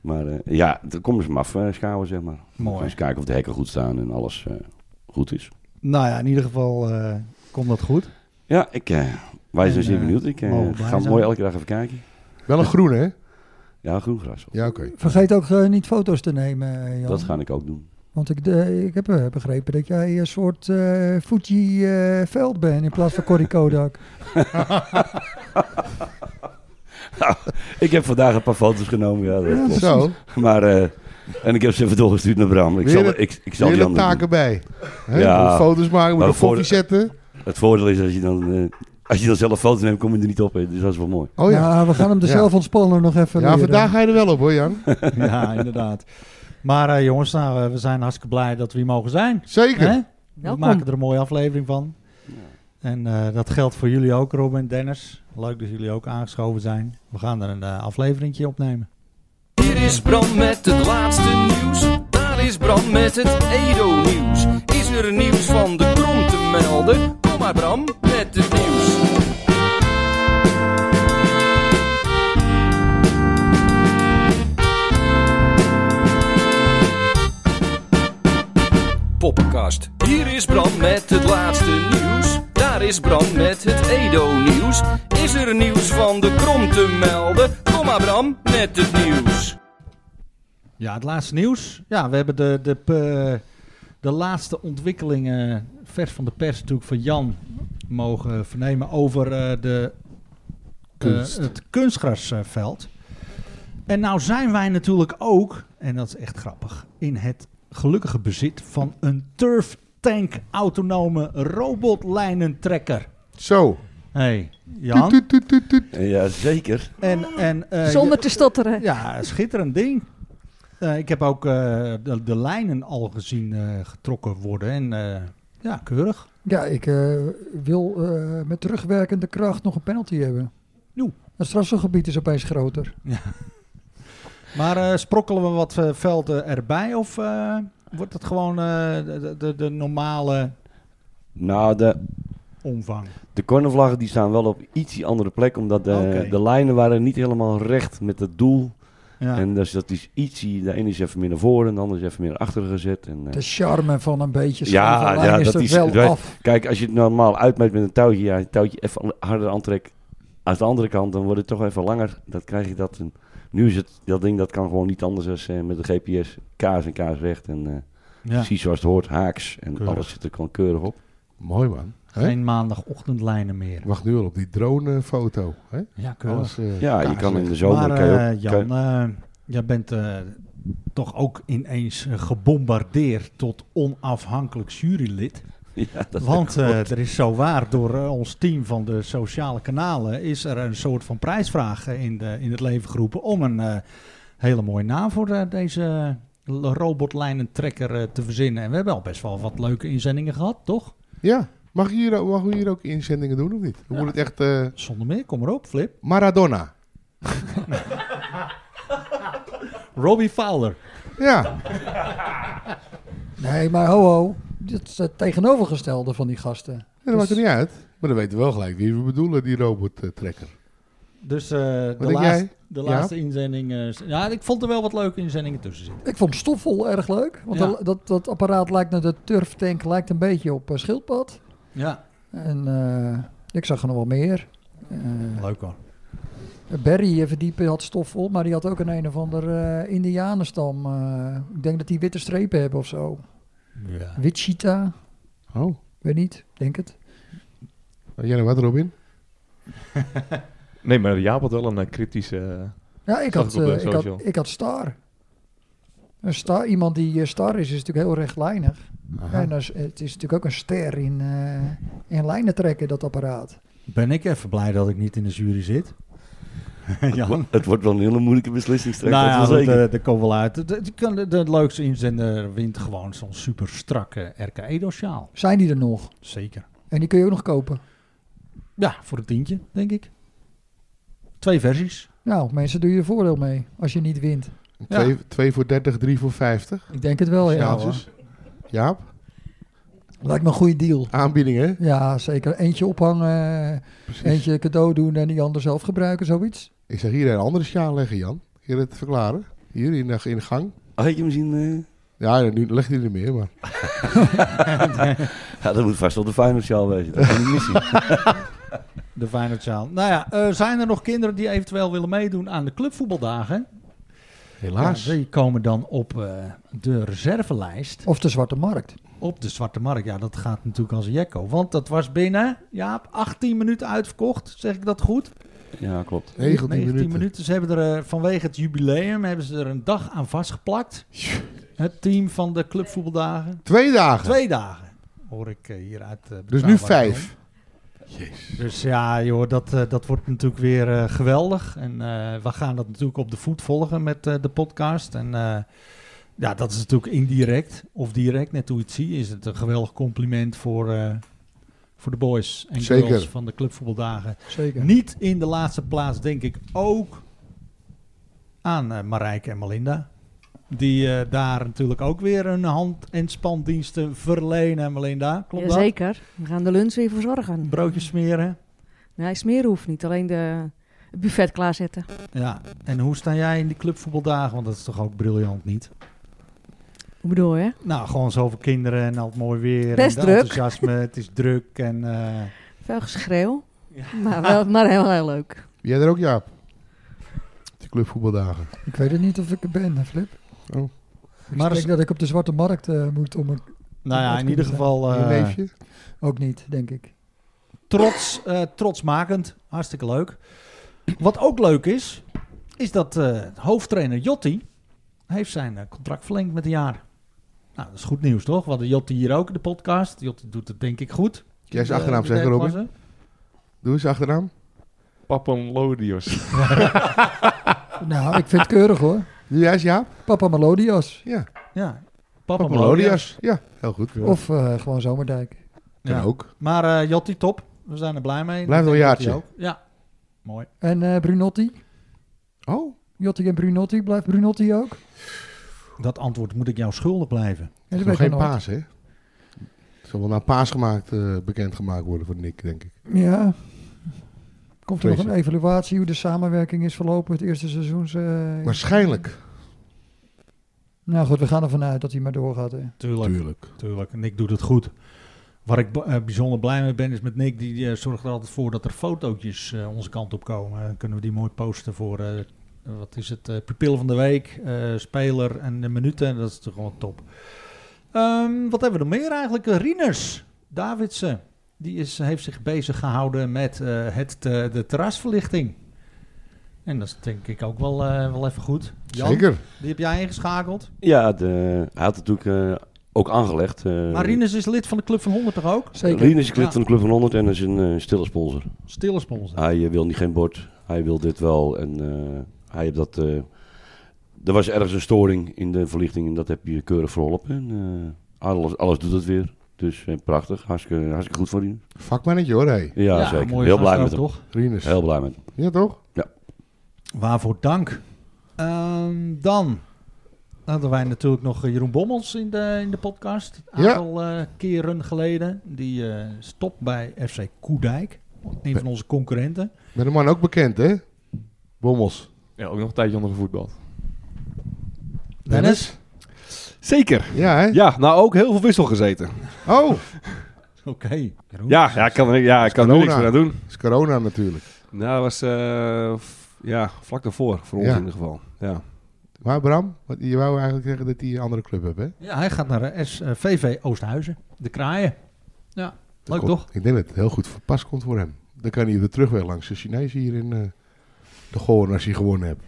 Speaker 6: Maar eh, ja, dan komen ze hem afschouwen, eh, zeg maar.
Speaker 2: Mooi.
Speaker 6: Eens kijken of de hekken goed staan en alles eh, goed is.
Speaker 2: Nou ja, in ieder geval eh, komt dat goed.
Speaker 6: Ja, ik, eh, wij
Speaker 2: En,
Speaker 6: zijn zeer
Speaker 2: eh,
Speaker 6: benieuwd. Ik eh,
Speaker 2: mogen blij
Speaker 6: ga hem
Speaker 2: zijn.
Speaker 6: mooi elke dag even kijken.
Speaker 4: Wel een groene, hè?
Speaker 6: Ja, groen gras.
Speaker 4: Ja, oké.
Speaker 3: Vergeet ook eh, niet foto's te nemen, eh, Jan.
Speaker 6: Dat ga ik ook doen.
Speaker 3: Want ik, eh, ik heb eh, begrepen dat jij een soort eh Fuji eh, veld bent in plaats van Corrie Kodak.
Speaker 6: Ik heb vandaag een paar foto's genomen. Ja, dat klopt.
Speaker 4: Zo,
Speaker 6: Maar, eh, en ik heb ze even doorgestuurd naar Bram. Ik
Speaker 4: Weer
Speaker 6: zal,
Speaker 4: een-
Speaker 6: ik, ik zal die
Speaker 4: hele
Speaker 6: andere doen.
Speaker 4: taken bij. Hè?
Speaker 6: Ja.
Speaker 4: Je moet foto's maken, je moet
Speaker 6: Maar
Speaker 4: een
Speaker 6: voor
Speaker 4: koffie zetten.
Speaker 6: Het voordeel is, als je, dan, eh, als je dan zelf foto's neemt, kom je er niet op. Hè. Dus dat is wel mooi.
Speaker 4: Oh ja.
Speaker 3: Nou, we gaan hem er
Speaker 4: Ja.
Speaker 3: zelf ontspannen nog even
Speaker 4: Ja,
Speaker 3: leren.
Speaker 4: vandaag ga je er wel op, hoor, Jan.
Speaker 2: ja, inderdaad. Maar eh, jongens, nou, eh, we zijn hartstikke blij dat we hier mogen zijn.
Speaker 4: Zeker.
Speaker 2: Hè? We
Speaker 5: Welkom.
Speaker 2: maken er een mooie aflevering van. En eh, dat geldt voor jullie ook, Rob en Dennis. Leuk dat jullie ook aangeschoven zijn. We gaan er een eh, afleveringetje opnemen.
Speaker 9: Hier is Bram met het laatste nieuws. Daar is Bram met het Edo-nieuws. Is er nieuws van de krom te melden? Kom maar Bram met het nieuws. Poppenkast. Hier is Bram met het laatste nieuws. Daar is Bram met het Edo-nieuws. Is er nieuws van de krom te melden? Kom maar Bram met het nieuws.
Speaker 2: Ja, het laatste nieuws. Ja, we hebben de, de, pe- de laatste ontwikkelingen vers van de pers natuurlijk van Jan mogen vernemen over eh, de, eh,
Speaker 4: Kunst.
Speaker 2: het kunstgrasveld. En nou zijn wij natuurlijk ook, en dat is echt grappig, in het gelukkige bezit van een turf tank autonome robotlijnentrekker.
Speaker 4: Zo.
Speaker 2: hey, Jan.
Speaker 4: Tuut, tuut, tuut, tuut.
Speaker 6: Eh, Ja, zeker.
Speaker 2: En, en, eh,
Speaker 5: Zonder te stotteren.
Speaker 2: ja, schitterend ding. Eh, ik heb ook eh, de, de lijnen al gezien eh, getrokken worden. En eh, ja, keurig.
Speaker 3: Ja, ik eh, wil eh, met terugwerkende kracht nog een penalty hebben.
Speaker 4: Nou.
Speaker 2: Joe.
Speaker 3: Het strafgebied is opeens groter.
Speaker 2: Maar eh, sprokkelen we wat eh, velden erbij? Of eh, wordt het gewoon eh, de, de, de normale
Speaker 6: Nou, de,
Speaker 2: omvang?
Speaker 6: de cornervlaggen die staan wel op ietsie andere plek. Omdat de,
Speaker 2: Oké.
Speaker 6: de lijnen waren niet helemaal recht met het doel.
Speaker 2: Ja.
Speaker 6: En dus dat is ietsie. De ene is even meer naar voren en de ander is even meer naar achteren gezet. En, eh,
Speaker 3: De charme van een beetje
Speaker 6: Ja,
Speaker 3: scheve lijn
Speaker 6: ja,
Speaker 3: is
Speaker 6: dat
Speaker 3: er
Speaker 6: is-
Speaker 3: wel
Speaker 6: dat-
Speaker 3: af.
Speaker 6: Kijk, als je het normaal uitmeet met een touwtje, ja, het touwtje even harder aantrekt. Aan de andere kant, dan wordt het toch even langer. Dat krijg je dat. En nu is het, dat ding, dat kan gewoon niet anders dan eh, met de GPS. Kaas en kaas recht. En eh,
Speaker 2: Ja.
Speaker 6: precies zoals het hoort, haaks. En
Speaker 2: Keurig.
Speaker 6: alles zit er gewoon keurig op.
Speaker 4: Mooi man. Hè?
Speaker 2: Geen maandagochtendlijnen meer.
Speaker 4: Ik wacht nu al op die dronefoto. Hè?
Speaker 2: Ja, keurig.
Speaker 4: Alles, eh,
Speaker 6: Ja, je
Speaker 4: kaas
Speaker 6: kan in
Speaker 4: weg.
Speaker 6: de zomer...
Speaker 2: maar
Speaker 6: kan je ook-
Speaker 2: eh,
Speaker 6: kan
Speaker 2: Jan,
Speaker 6: je-
Speaker 2: eh, jij bent eh, toch ook ineens eh, gebombardeerd tot onafhankelijk jurylid.
Speaker 6: ja, dat
Speaker 2: Want eh, er is zo waar door eh, ons team van de sociale kanalen is er een soort van prijsvraag eh, in, de, in het leven geroepen om een eh, hele mooie naam voor eh, deze robotlijnentrekker eh, te verzinnen. En we hebben al best wel wat leuke inzendingen gehad, toch?
Speaker 4: Ja. Mag je, hier, ook- mag je hier ook inzendingen doen of niet? Dan moet het echt eh,
Speaker 2: Zonder meer, kom erop, Flip.
Speaker 4: Maradona.
Speaker 2: Robbie Fowler.
Speaker 4: Ja.
Speaker 3: Nee, maar ho ho. Dat is het tegenovergestelde van die gasten.
Speaker 4: Ja, dat
Speaker 2: Dus-
Speaker 4: maakt er niet uit. Maar dan weten we wel gelijk wie we bedoelen, die robottrekker.
Speaker 2: Dus eh, de,
Speaker 4: denk
Speaker 2: laatste,
Speaker 4: jij?
Speaker 2: de
Speaker 4: Ja?
Speaker 2: laatste inzending... eh, s- ja, ik vond er wel wat leuke inzendingen tussen zitten.
Speaker 3: Ik vond Stoffel erg leuk. Want
Speaker 2: Ja.
Speaker 3: dat- dat, dat apparaat lijkt naar de turftank, lijkt een beetje op eh, schildpad.
Speaker 2: Ja,
Speaker 3: En eh, ik zag er nog wel meer. Eh,
Speaker 2: leuk hoor.
Speaker 3: Barry eh, verdiepen had Stoffel, maar die had ook een een of ander eh, indianenstam. eh. ik denk dat die witte strepen hebben of zo.
Speaker 2: Ja.
Speaker 3: Wichita,
Speaker 4: Oh.
Speaker 3: weet niet, denk het.
Speaker 4: Jij nou wat, Robin?
Speaker 7: Nee, maar Jaap had wel een eh, cryptische... eh,
Speaker 3: Ja, ik
Speaker 7: Zag
Speaker 3: had,
Speaker 7: ik op de
Speaker 3: eh, ik,
Speaker 7: social.
Speaker 3: had, ik had Star. Een star. Iemand die eh, star is, is natuurlijk heel rechtlijnig.
Speaker 4: Aha.
Speaker 3: En dat is- het is natuurlijk ook een ster in, eh, in lijnen trekken, dat apparaat.
Speaker 2: Ben ik even blij dat ik niet in de jury zit. Jan.
Speaker 6: Het wordt wel een hele moeilijke beslissing straks.
Speaker 2: Nou
Speaker 6: dat
Speaker 2: ja,
Speaker 6: wel
Speaker 2: dat,
Speaker 6: zeker.
Speaker 2: eh, dat komt wel uit. De, de, de, de leukste inzender wint gewoon zo'n super strakke RK Edo-sjaal.
Speaker 3: Zijn die er nog?
Speaker 2: Zeker.
Speaker 3: En die kun je ook nog kopen.
Speaker 2: Ja, voor een tientje, denk ik. Twee versies.
Speaker 3: Nou, mensen, doe je er voordeel mee als je niet wint.
Speaker 2: Ja. Oh,
Speaker 4: Twee, twee voor 30, drie voor 50.
Speaker 3: Ik denk het wel, ja. hoor.
Speaker 4: Sjaaltjes. Jaap,
Speaker 3: Lijkt me een goede deal.
Speaker 4: aanbieding hè?
Speaker 3: Ja, zeker. Eentje ophangen, eh, eentje cadeau doen en die ander zelf gebruiken, zoiets.
Speaker 4: Ik zeg hier een andere sjaal leggen, Jan. Kun je het verklaren? Hier in de, in de gang.
Speaker 6: Had je hem zien? eh?
Speaker 4: Ja, nu legt hij er niet meer, maar...
Speaker 6: Ja, dat moet vast wel de final sjaal wezen. Dat is een missie.
Speaker 2: De Feyenoord-sjaal. Nou ja, eh, zijn er nog kinderen die eventueel willen meedoen aan de clubvoetbaldagen?
Speaker 4: Helaas.
Speaker 2: Ja, die komen dan op eh, de reservelijst
Speaker 3: Of de zwarte markt.
Speaker 2: op de Zwarte Markt. Ja, dat gaat natuurlijk als een jekko. Want dat was binnen, Jaap, 18 minuten uitverkocht. Zeg ik dat goed?
Speaker 6: Ja, klopt.
Speaker 4: 19, minuten.
Speaker 2: Ze hebben er eh, vanwege het jubileum hebben ze er een dag aan vastgeplakt. Het team van de clubvoetbaldagen.
Speaker 4: Twee dagen.
Speaker 2: Twee dagen, hoor ik eh, hier uit. eh,
Speaker 4: Dus
Speaker 2: Betrouwbare
Speaker 4: nu vijf.
Speaker 2: Bron. Dus ja, joh, dat, eh, dat wordt natuurlijk weer eh, geweldig. En eh, we gaan dat natuurlijk op de voet volgen met eh, de podcast. En eh, ja, dat is natuurlijk indirect of direct, net hoe je het ziet, is het een geweldig compliment voor, eh, voor de boys en
Speaker 4: Zeker.
Speaker 2: girls van de clubvoetbaldagen.
Speaker 3: Zeker.
Speaker 2: Niet in de laatste plaats, denk ik ook aan eh, Marijke en Melinda. Die eh, daar natuurlijk ook weer hun hand- en spandiensten verlenen, Melinda. Klopt dat?
Speaker 5: Jazeker. We gaan de lunch weer voor zorgen.
Speaker 2: Broodjes smeren.
Speaker 5: Nee, smeren hoeft niet. Alleen de, het buffet klaarzetten.
Speaker 2: Ja. En hoe sta jij in die clubvoetbaldagen? Want dat is toch ook briljant, niet?
Speaker 5: Ik bedoel, hè?
Speaker 2: Nou, gewoon zoveel kinderen en altijd mooi weer.
Speaker 5: Best
Speaker 2: en de
Speaker 5: druk.
Speaker 2: enthousiasme, het is druk. En, eh,
Speaker 5: Veel geschreeuw. Maar, wel, maar heel, heel leuk.
Speaker 4: Jij er ook, Jaap? Die clubvoetbaldagen.
Speaker 3: Ik weet het niet of ik er ben, Flip.
Speaker 4: Oh.
Speaker 3: Ik
Speaker 2: Maar
Speaker 3: denk
Speaker 2: is-
Speaker 3: dat ik op de zwarte markt eh, moet om een...
Speaker 2: nou ja, in ieder geval...
Speaker 4: je
Speaker 2: eh,
Speaker 4: neefje?
Speaker 3: Ook niet, denk ik.
Speaker 2: trots, eh, trotsmakend. Hartstikke leuk. Wat ook leuk is, is dat eh, hoofdtrainer Jotti heeft zijn eh, contract verlengd met een jaar. Nou, dat is goed nieuws, toch? We hadden Jotti hier ook in de podcast. Jotti doet het denk ik goed. eh,
Speaker 4: Jij is
Speaker 2: De-
Speaker 4: achternaam
Speaker 2: de
Speaker 4: zeggen,
Speaker 2: derde
Speaker 4: Robin. Doe eens achternaam.
Speaker 7: Papalodios.
Speaker 3: Nou, ik vind het keurig hoor.
Speaker 4: Doe jij eens Jaap?
Speaker 3: Papa Melodias.
Speaker 4: Ja.
Speaker 2: klasse. Ja. Papa Melodias.
Speaker 4: Papalodias. Ja, heel goed. Kan
Speaker 3: Of eh, gewoon Zomerdijk.
Speaker 2: Ja.
Speaker 4: ook.
Speaker 2: Maar eh, Jotti, top. We zijn er blij mee.
Speaker 4: Blijft
Speaker 2: Ik
Speaker 4: nog een
Speaker 2: denk Jotti
Speaker 4: jaartje.
Speaker 2: ook. Ja. Mooi.
Speaker 3: En eh, Brunotti.
Speaker 4: Oh,
Speaker 3: Jotti en Brunotti. Blijft Brunotti ook?
Speaker 2: Dat antwoord moet ik jou schuldig blijven.
Speaker 3: Ja,
Speaker 4: het
Speaker 3: dat
Speaker 4: is
Speaker 3: weet
Speaker 4: nog
Speaker 3: ik
Speaker 4: geen
Speaker 3: nooit.
Speaker 4: paas, hè? Het zal wel na paas gemaakt, eh, bekendgemaakt worden voor Nick, denk ik.
Speaker 3: Ja. Komt er nog
Speaker 4: Vrees
Speaker 3: een evaluatie hoe de samenwerking is verlopen het eerste seizoen? eh,
Speaker 4: Waarschijnlijk.
Speaker 3: nou goed, we gaan ervan uit dat hij maar doorgaat. Hè.
Speaker 2: Tuurlijk.
Speaker 4: Tuurlijk.
Speaker 2: Tuurlijk, Nick doet het goed. Waar ik b- eh, bijzonder blij mee ben, is met Nick. Die eh, zorgt er altijd voor dat er fotootjes eh, onze kant op komen. Dan kunnen we die mooi posten voor, eh, wat is het, eh, pupil van de week, eh, speler en de minuten. Dat is toch gewoon top. Ehm, wat hebben we nog meer eigenlijk? Eh, Rinus Davidsen. Die is, heeft zich bezig gehouden met eh, het, eh, de terrasverlichting. En dat is denk ik ook wel, eh, wel even goed. Jan,
Speaker 4: Zeker.
Speaker 2: die heb jij ingeschakeld.
Speaker 6: Ja, de, hij had het natuurlijk eh, ook aangelegd. eh
Speaker 2: Maar Rinus is lid van de Club van 100 toch ook?
Speaker 3: Zeker.
Speaker 6: Rien is lid
Speaker 2: Ja.
Speaker 6: van de Club van 100 en is een eh, stille sponsor.
Speaker 2: Stille sponsor.
Speaker 6: Hij eh, wil niet geen bord, hij wil dit wel. En eh, hij heeft dat. eh, er was ergens een storing in de verlichting en dat heb je keurig verholpen. En, eh, alles, alles doet het weer. Dus eh, prachtig, hartstikke, hartstikke goed voor Rien.
Speaker 4: Vakmannetje hoor, hé.
Speaker 6: Ja, zeker. Heel blij met hem.
Speaker 2: toch?
Speaker 4: Rinus.
Speaker 6: Heel blij met hem.
Speaker 4: Ja, toch?
Speaker 2: Waarvoor dank. Ehm, dan hadden wij natuurlijk nog eh, Jeroen Bommels in de, in de podcast. Een
Speaker 4: Ja.
Speaker 2: aantal eh, keren geleden. Die eh, stopt bij FC Koedijk. Een van onze concurrenten.
Speaker 4: Met een man ook bekend, hè? Bommels.
Speaker 7: Ja, ook nog een tijdje onder gevoetbald.
Speaker 2: Dennis?
Speaker 8: Zeker.
Speaker 4: Ja, hè?
Speaker 8: Ja, nou ook heel veel wissel gezeten.
Speaker 4: Oh,
Speaker 2: Oké. Jeroen.
Speaker 8: Ja, ja, ik kan er, ja, ik kan er
Speaker 4: Corona.
Speaker 8: niks meer aan doen.
Speaker 4: het is corona natuurlijk.
Speaker 8: Nou, dat was eh, f- ja, vlak daarvoor, voor ons
Speaker 4: Ja.
Speaker 8: in ieder geval. Ja.
Speaker 4: Maar Bram, wat, je wou eigenlijk zeggen dat hij een andere club hebt, hè?
Speaker 2: Ja, hij gaat naar eh, S, eh, VV Oosthuizen. De Kraaien. Ja, leuk
Speaker 4: Komt-
Speaker 2: toch?
Speaker 4: Ik denk dat het heel goed voor pas komt voor hem. Dan kan hij weer terug weer langs de Chinezen hier in eh, de Goorn als hij gewonnen hebt.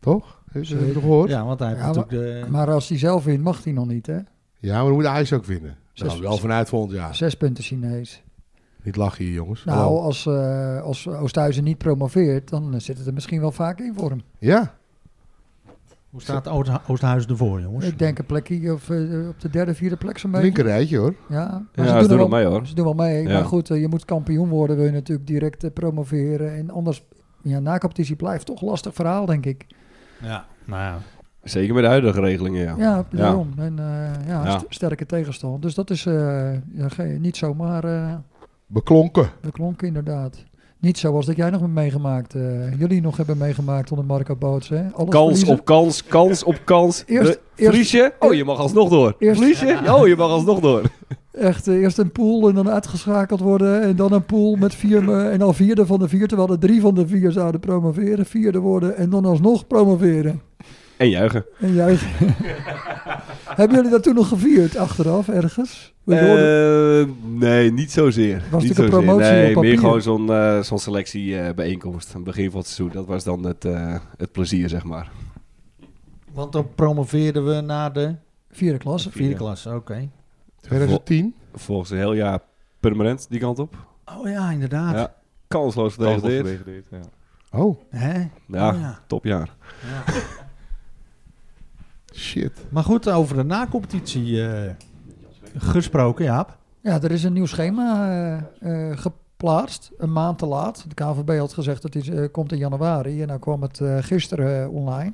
Speaker 4: Toch? Heb je
Speaker 3: Zeker.
Speaker 4: het gehoord? Ja.
Speaker 2: Ja, want hij heeft
Speaker 3: Ja,
Speaker 2: natuurlijk de...
Speaker 3: Maar als hij zelf wint, mag hij nog niet, hè?
Speaker 4: maar dan moet hij ze ook winnen. Daar
Speaker 3: Zes-
Speaker 4: gaan we Nou, wel vanuit volgend jaar.
Speaker 3: Zes punten Chinees.
Speaker 4: Niet lachen hier, jongens.
Speaker 3: Nou,
Speaker 4: Hallo.
Speaker 3: als, eh, als Oosthuizen niet promoveert, dan eh, zit het er misschien wel vaak in voor hem.
Speaker 4: Ja,
Speaker 2: Hoe staat Oost- Oosthuizen ervoor, jongens?
Speaker 3: Ik denk een plekje of, eh, op de derde, vierde plek zo'n beetje.
Speaker 4: linker rijtje hoor.
Speaker 3: Ja,
Speaker 8: Ja,
Speaker 3: maar
Speaker 8: ze
Speaker 3: ze, doen
Speaker 8: doen
Speaker 3: er
Speaker 8: wel
Speaker 3: wel,
Speaker 8: mee, hoor.
Speaker 3: ze doen wel mee.
Speaker 8: Ja.
Speaker 3: Maar goed, eh, je moet kampioen worden, wil je natuurlijk direct eh, promoveren. En anders, ja, na competitie blijft toch een lastig verhaal, denk ik.
Speaker 2: Ja, nou ja.
Speaker 8: Zeker met de huidige regelingen, ja.
Speaker 3: Ja, daarom. En eh, ja,
Speaker 8: Ja.
Speaker 3: st- sterke tegenstand. Dus dat is eh, ja, ge- niet zomaar eh
Speaker 4: Beklonken.
Speaker 3: de klonk, inderdaad. Niet zoals dat jij nog hebt meegemaakt. eh, jullie nog hebben meegemaakt onder Marco Boots. Hè? Alles
Speaker 8: Kans
Speaker 3: verliezen.
Speaker 8: op kans, kans op kans.
Speaker 3: Eerst-
Speaker 8: Eh, verlies je? Oh, je mag alsnog door.
Speaker 3: Eerst-
Speaker 8: Verlies je? Oh, je mag alsnog door.
Speaker 3: Echt, eh, eerst een pool en dan uitgeschakeld worden. En dan een pool met vier. me- En al vierde van de vier. Terwijl er drie van de vier zouden promoveren. Vierde worden en dan alsnog promoveren.
Speaker 8: En juichen.
Speaker 3: En juichen. Hebben jullie dat toen nog gevierd achteraf ergens? We hoorden-
Speaker 8: Eh, nee, niet zozeer.
Speaker 3: Was
Speaker 8: niet
Speaker 3: natuurlijk een promotie
Speaker 8: Nee,
Speaker 3: op papier.
Speaker 8: meer gewoon zo'n eh, zo'n selectiebijeenkomst. aan het begin van het seizoen. Dat was dan het, eh, het plezier, zeg maar.
Speaker 2: Want dan promoveerden we naar de
Speaker 3: vierde klasse.
Speaker 2: vierde
Speaker 8: Ja.
Speaker 2: klasse. Oké.
Speaker 4: 2010.
Speaker 8: Volgens een heel jaar permanent die kant op.
Speaker 2: Oh ja, inderdaad.
Speaker 8: Ja. Kansloos verdedigd.
Speaker 7: dit. Ja.
Speaker 4: Oh,
Speaker 2: Hè?
Speaker 8: Ja,
Speaker 2: Oh ja.
Speaker 8: topjaar.
Speaker 4: shit.
Speaker 2: Maar goed, over de nacompetitie eh, gesproken, Jaap.
Speaker 3: Ja, er is een nieuw schema eh, eh, gep- geplaatst, een maand te laat. De KNVB had gezegd dat het eh, komt in januari en nou kwam het eh, gisteren eh, online.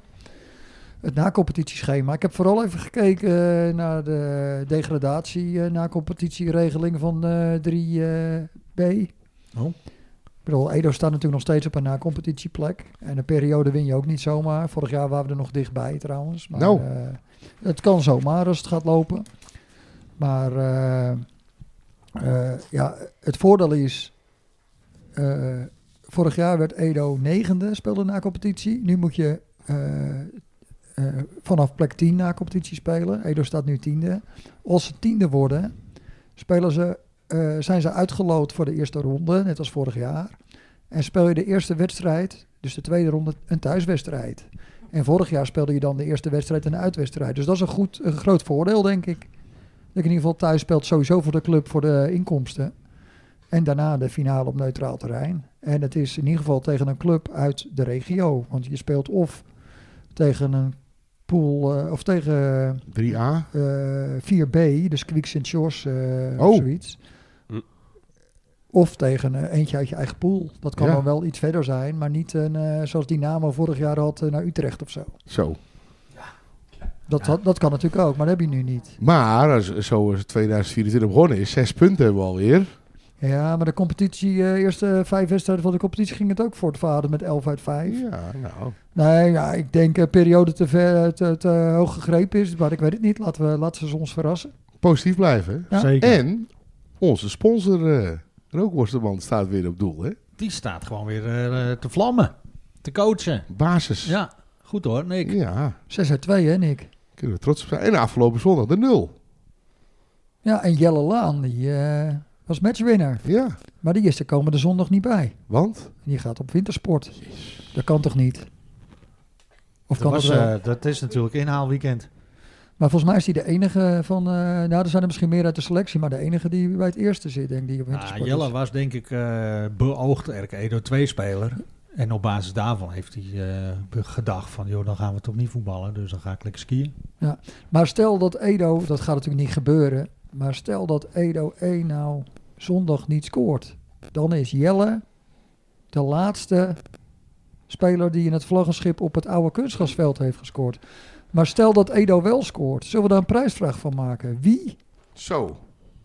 Speaker 3: Het nacompetitieschema. Ik heb vooral even gekeken eh, naar de degradatie eh nacompetitieregeling van eh 3B.
Speaker 2: Oh.
Speaker 3: Ik bedoel, Edo staat natuurlijk nog steeds op een nacompetitieplek. En een periode win je ook niet zomaar. Vorig jaar waren we er nog dichtbij trouwens. Maar,
Speaker 4: Nou.
Speaker 3: eh, het kan zomaar als het gaat lopen. Maar eh, eh, ja, het voordeel is... eh, vorig jaar werd Edo negende, speelde na competitie. Nu moet je eh, eh, vanaf plek 10 na competitie spelen. Edo staat nu tiende. Als ze tiende worden, spelen ze, eh, zijn ze uitgeloot voor de eerste ronde, net als vorig jaar. En speel je de eerste wedstrijd, dus de tweede ronde, een thuiswedstrijd. En vorig jaar speelde je dan de eerste wedstrijd en de uitwedstrijd. Dus dat is een, goed, een groot voordeel, denk ik. Dat je in ieder geval thuis speelt sowieso voor de club, voor de inkomsten. En daarna de finale op neutraal terrein. En het is in ieder geval tegen een club uit de regio. Want je speelt of tegen een pool, eh, of tegen...
Speaker 4: 3A.
Speaker 3: eh, 4B, dus Quick St. George eh,
Speaker 4: Oh.
Speaker 3: of zoiets.
Speaker 8: Hm.
Speaker 3: Of tegen eh, eentje uit je eigen pool. Dat kan
Speaker 4: Ja.
Speaker 3: dan wel iets verder zijn, maar niet een, eh, zoals Dynamo vorig jaar had eh, naar Utrecht of zo.
Speaker 4: Zo.
Speaker 3: Dat, had- dat kan natuurlijk ook, maar dat heb je nu niet.
Speaker 4: Maar als, zoals 2024 begonnen is, zes punten hebben we alweer.
Speaker 3: Ja, maar de competitie, eh, eerste vijf wedstrijden van de competitie ging het ook voortvaarden met 11 uit 5.
Speaker 4: Ja, nou.
Speaker 3: Nee, ja, ik denk eh, periode te, ver, te, te hoog gegrepen is, maar ik weet het niet. Laten we laten ze ons verrassen.
Speaker 4: Positief blijven.
Speaker 3: Ja. Eh.
Speaker 2: Zeker.
Speaker 4: En onze sponsor eh Rookworstenman staat weer op doel, hè?
Speaker 2: Die staat gewoon weer eh, te vlammen. Te coachen.
Speaker 4: Basis.
Speaker 2: Ja, goed hoor, Nick.
Speaker 4: Ja,
Speaker 3: 6 uit 2, hè Nick?
Speaker 4: kunnen we trots op zijn. En afgelopen zondag de nul.
Speaker 3: Ja, en Jelle Laan, die eh, was matchwinner.
Speaker 4: Ja,
Speaker 3: Maar die is er komende zondag niet bij.
Speaker 4: want
Speaker 3: Die gaat op wintersport. Dat kan toch niet?
Speaker 2: Dat,
Speaker 3: Of kan dat
Speaker 2: was,
Speaker 3: wel?
Speaker 2: eh, dat is natuurlijk inhaalweekend.
Speaker 3: maar volgens mij is hij de enige van... eh, nou, er zijn er misschien meer uit de selectie... maar de enige die bij het eerste zit, denk ik, die op
Speaker 2: Ah,
Speaker 3: wintersport
Speaker 2: Jelle
Speaker 3: is.
Speaker 2: was denk ik eh beoogd RK Edo 2-speler. En op basis daarvan heeft hij eh, gedacht van... joh, dan gaan we toch niet voetballen, dus dan ga ik lekker skiën.
Speaker 3: Maar stel dat Edo... Dat gaat natuurlijk niet gebeuren. Maar stel dat Edo 1 nou zondag niet scoort... dan is Jelle de laatste speler... die in het vlaggenschip op het oude kunstgrasveld heeft gescoord. Maar stel dat Edo wel scoort. Zullen we daar een prijsvraag van maken? Wie
Speaker 4: zo.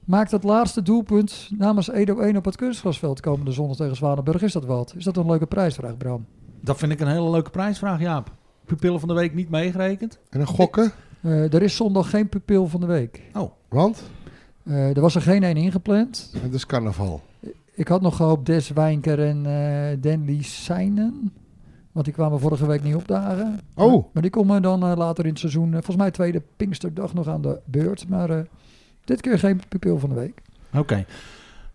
Speaker 3: Maakt het laatste doelpunt namens Edo 1 op het kunstgrasveld komende zondag tegen Zwanenburg. Is dat wat? Is dat een leuke prijsvraag, Bram?
Speaker 2: Dat vind ik een hele leuke prijsvraag, Jaap. Pupillen van de week niet meegerekend.
Speaker 4: En een gokken,
Speaker 3: Eh, er is zondag geen pupil van de week.
Speaker 4: want
Speaker 3: Eh, er was er geen één ingepland.
Speaker 4: het is carnaval.
Speaker 3: Ik had nog gehoopt Des Wijnker en eh Danley Seinen. Want die kwamen vorige week niet opdagen.
Speaker 4: Oh,
Speaker 3: Maar die komen dan eh, later in het seizoen, eh, volgens mij tweede Pinksterdag, nog aan de beurt. Maar eh, dit keer geen pupil van de week.
Speaker 2: Oké.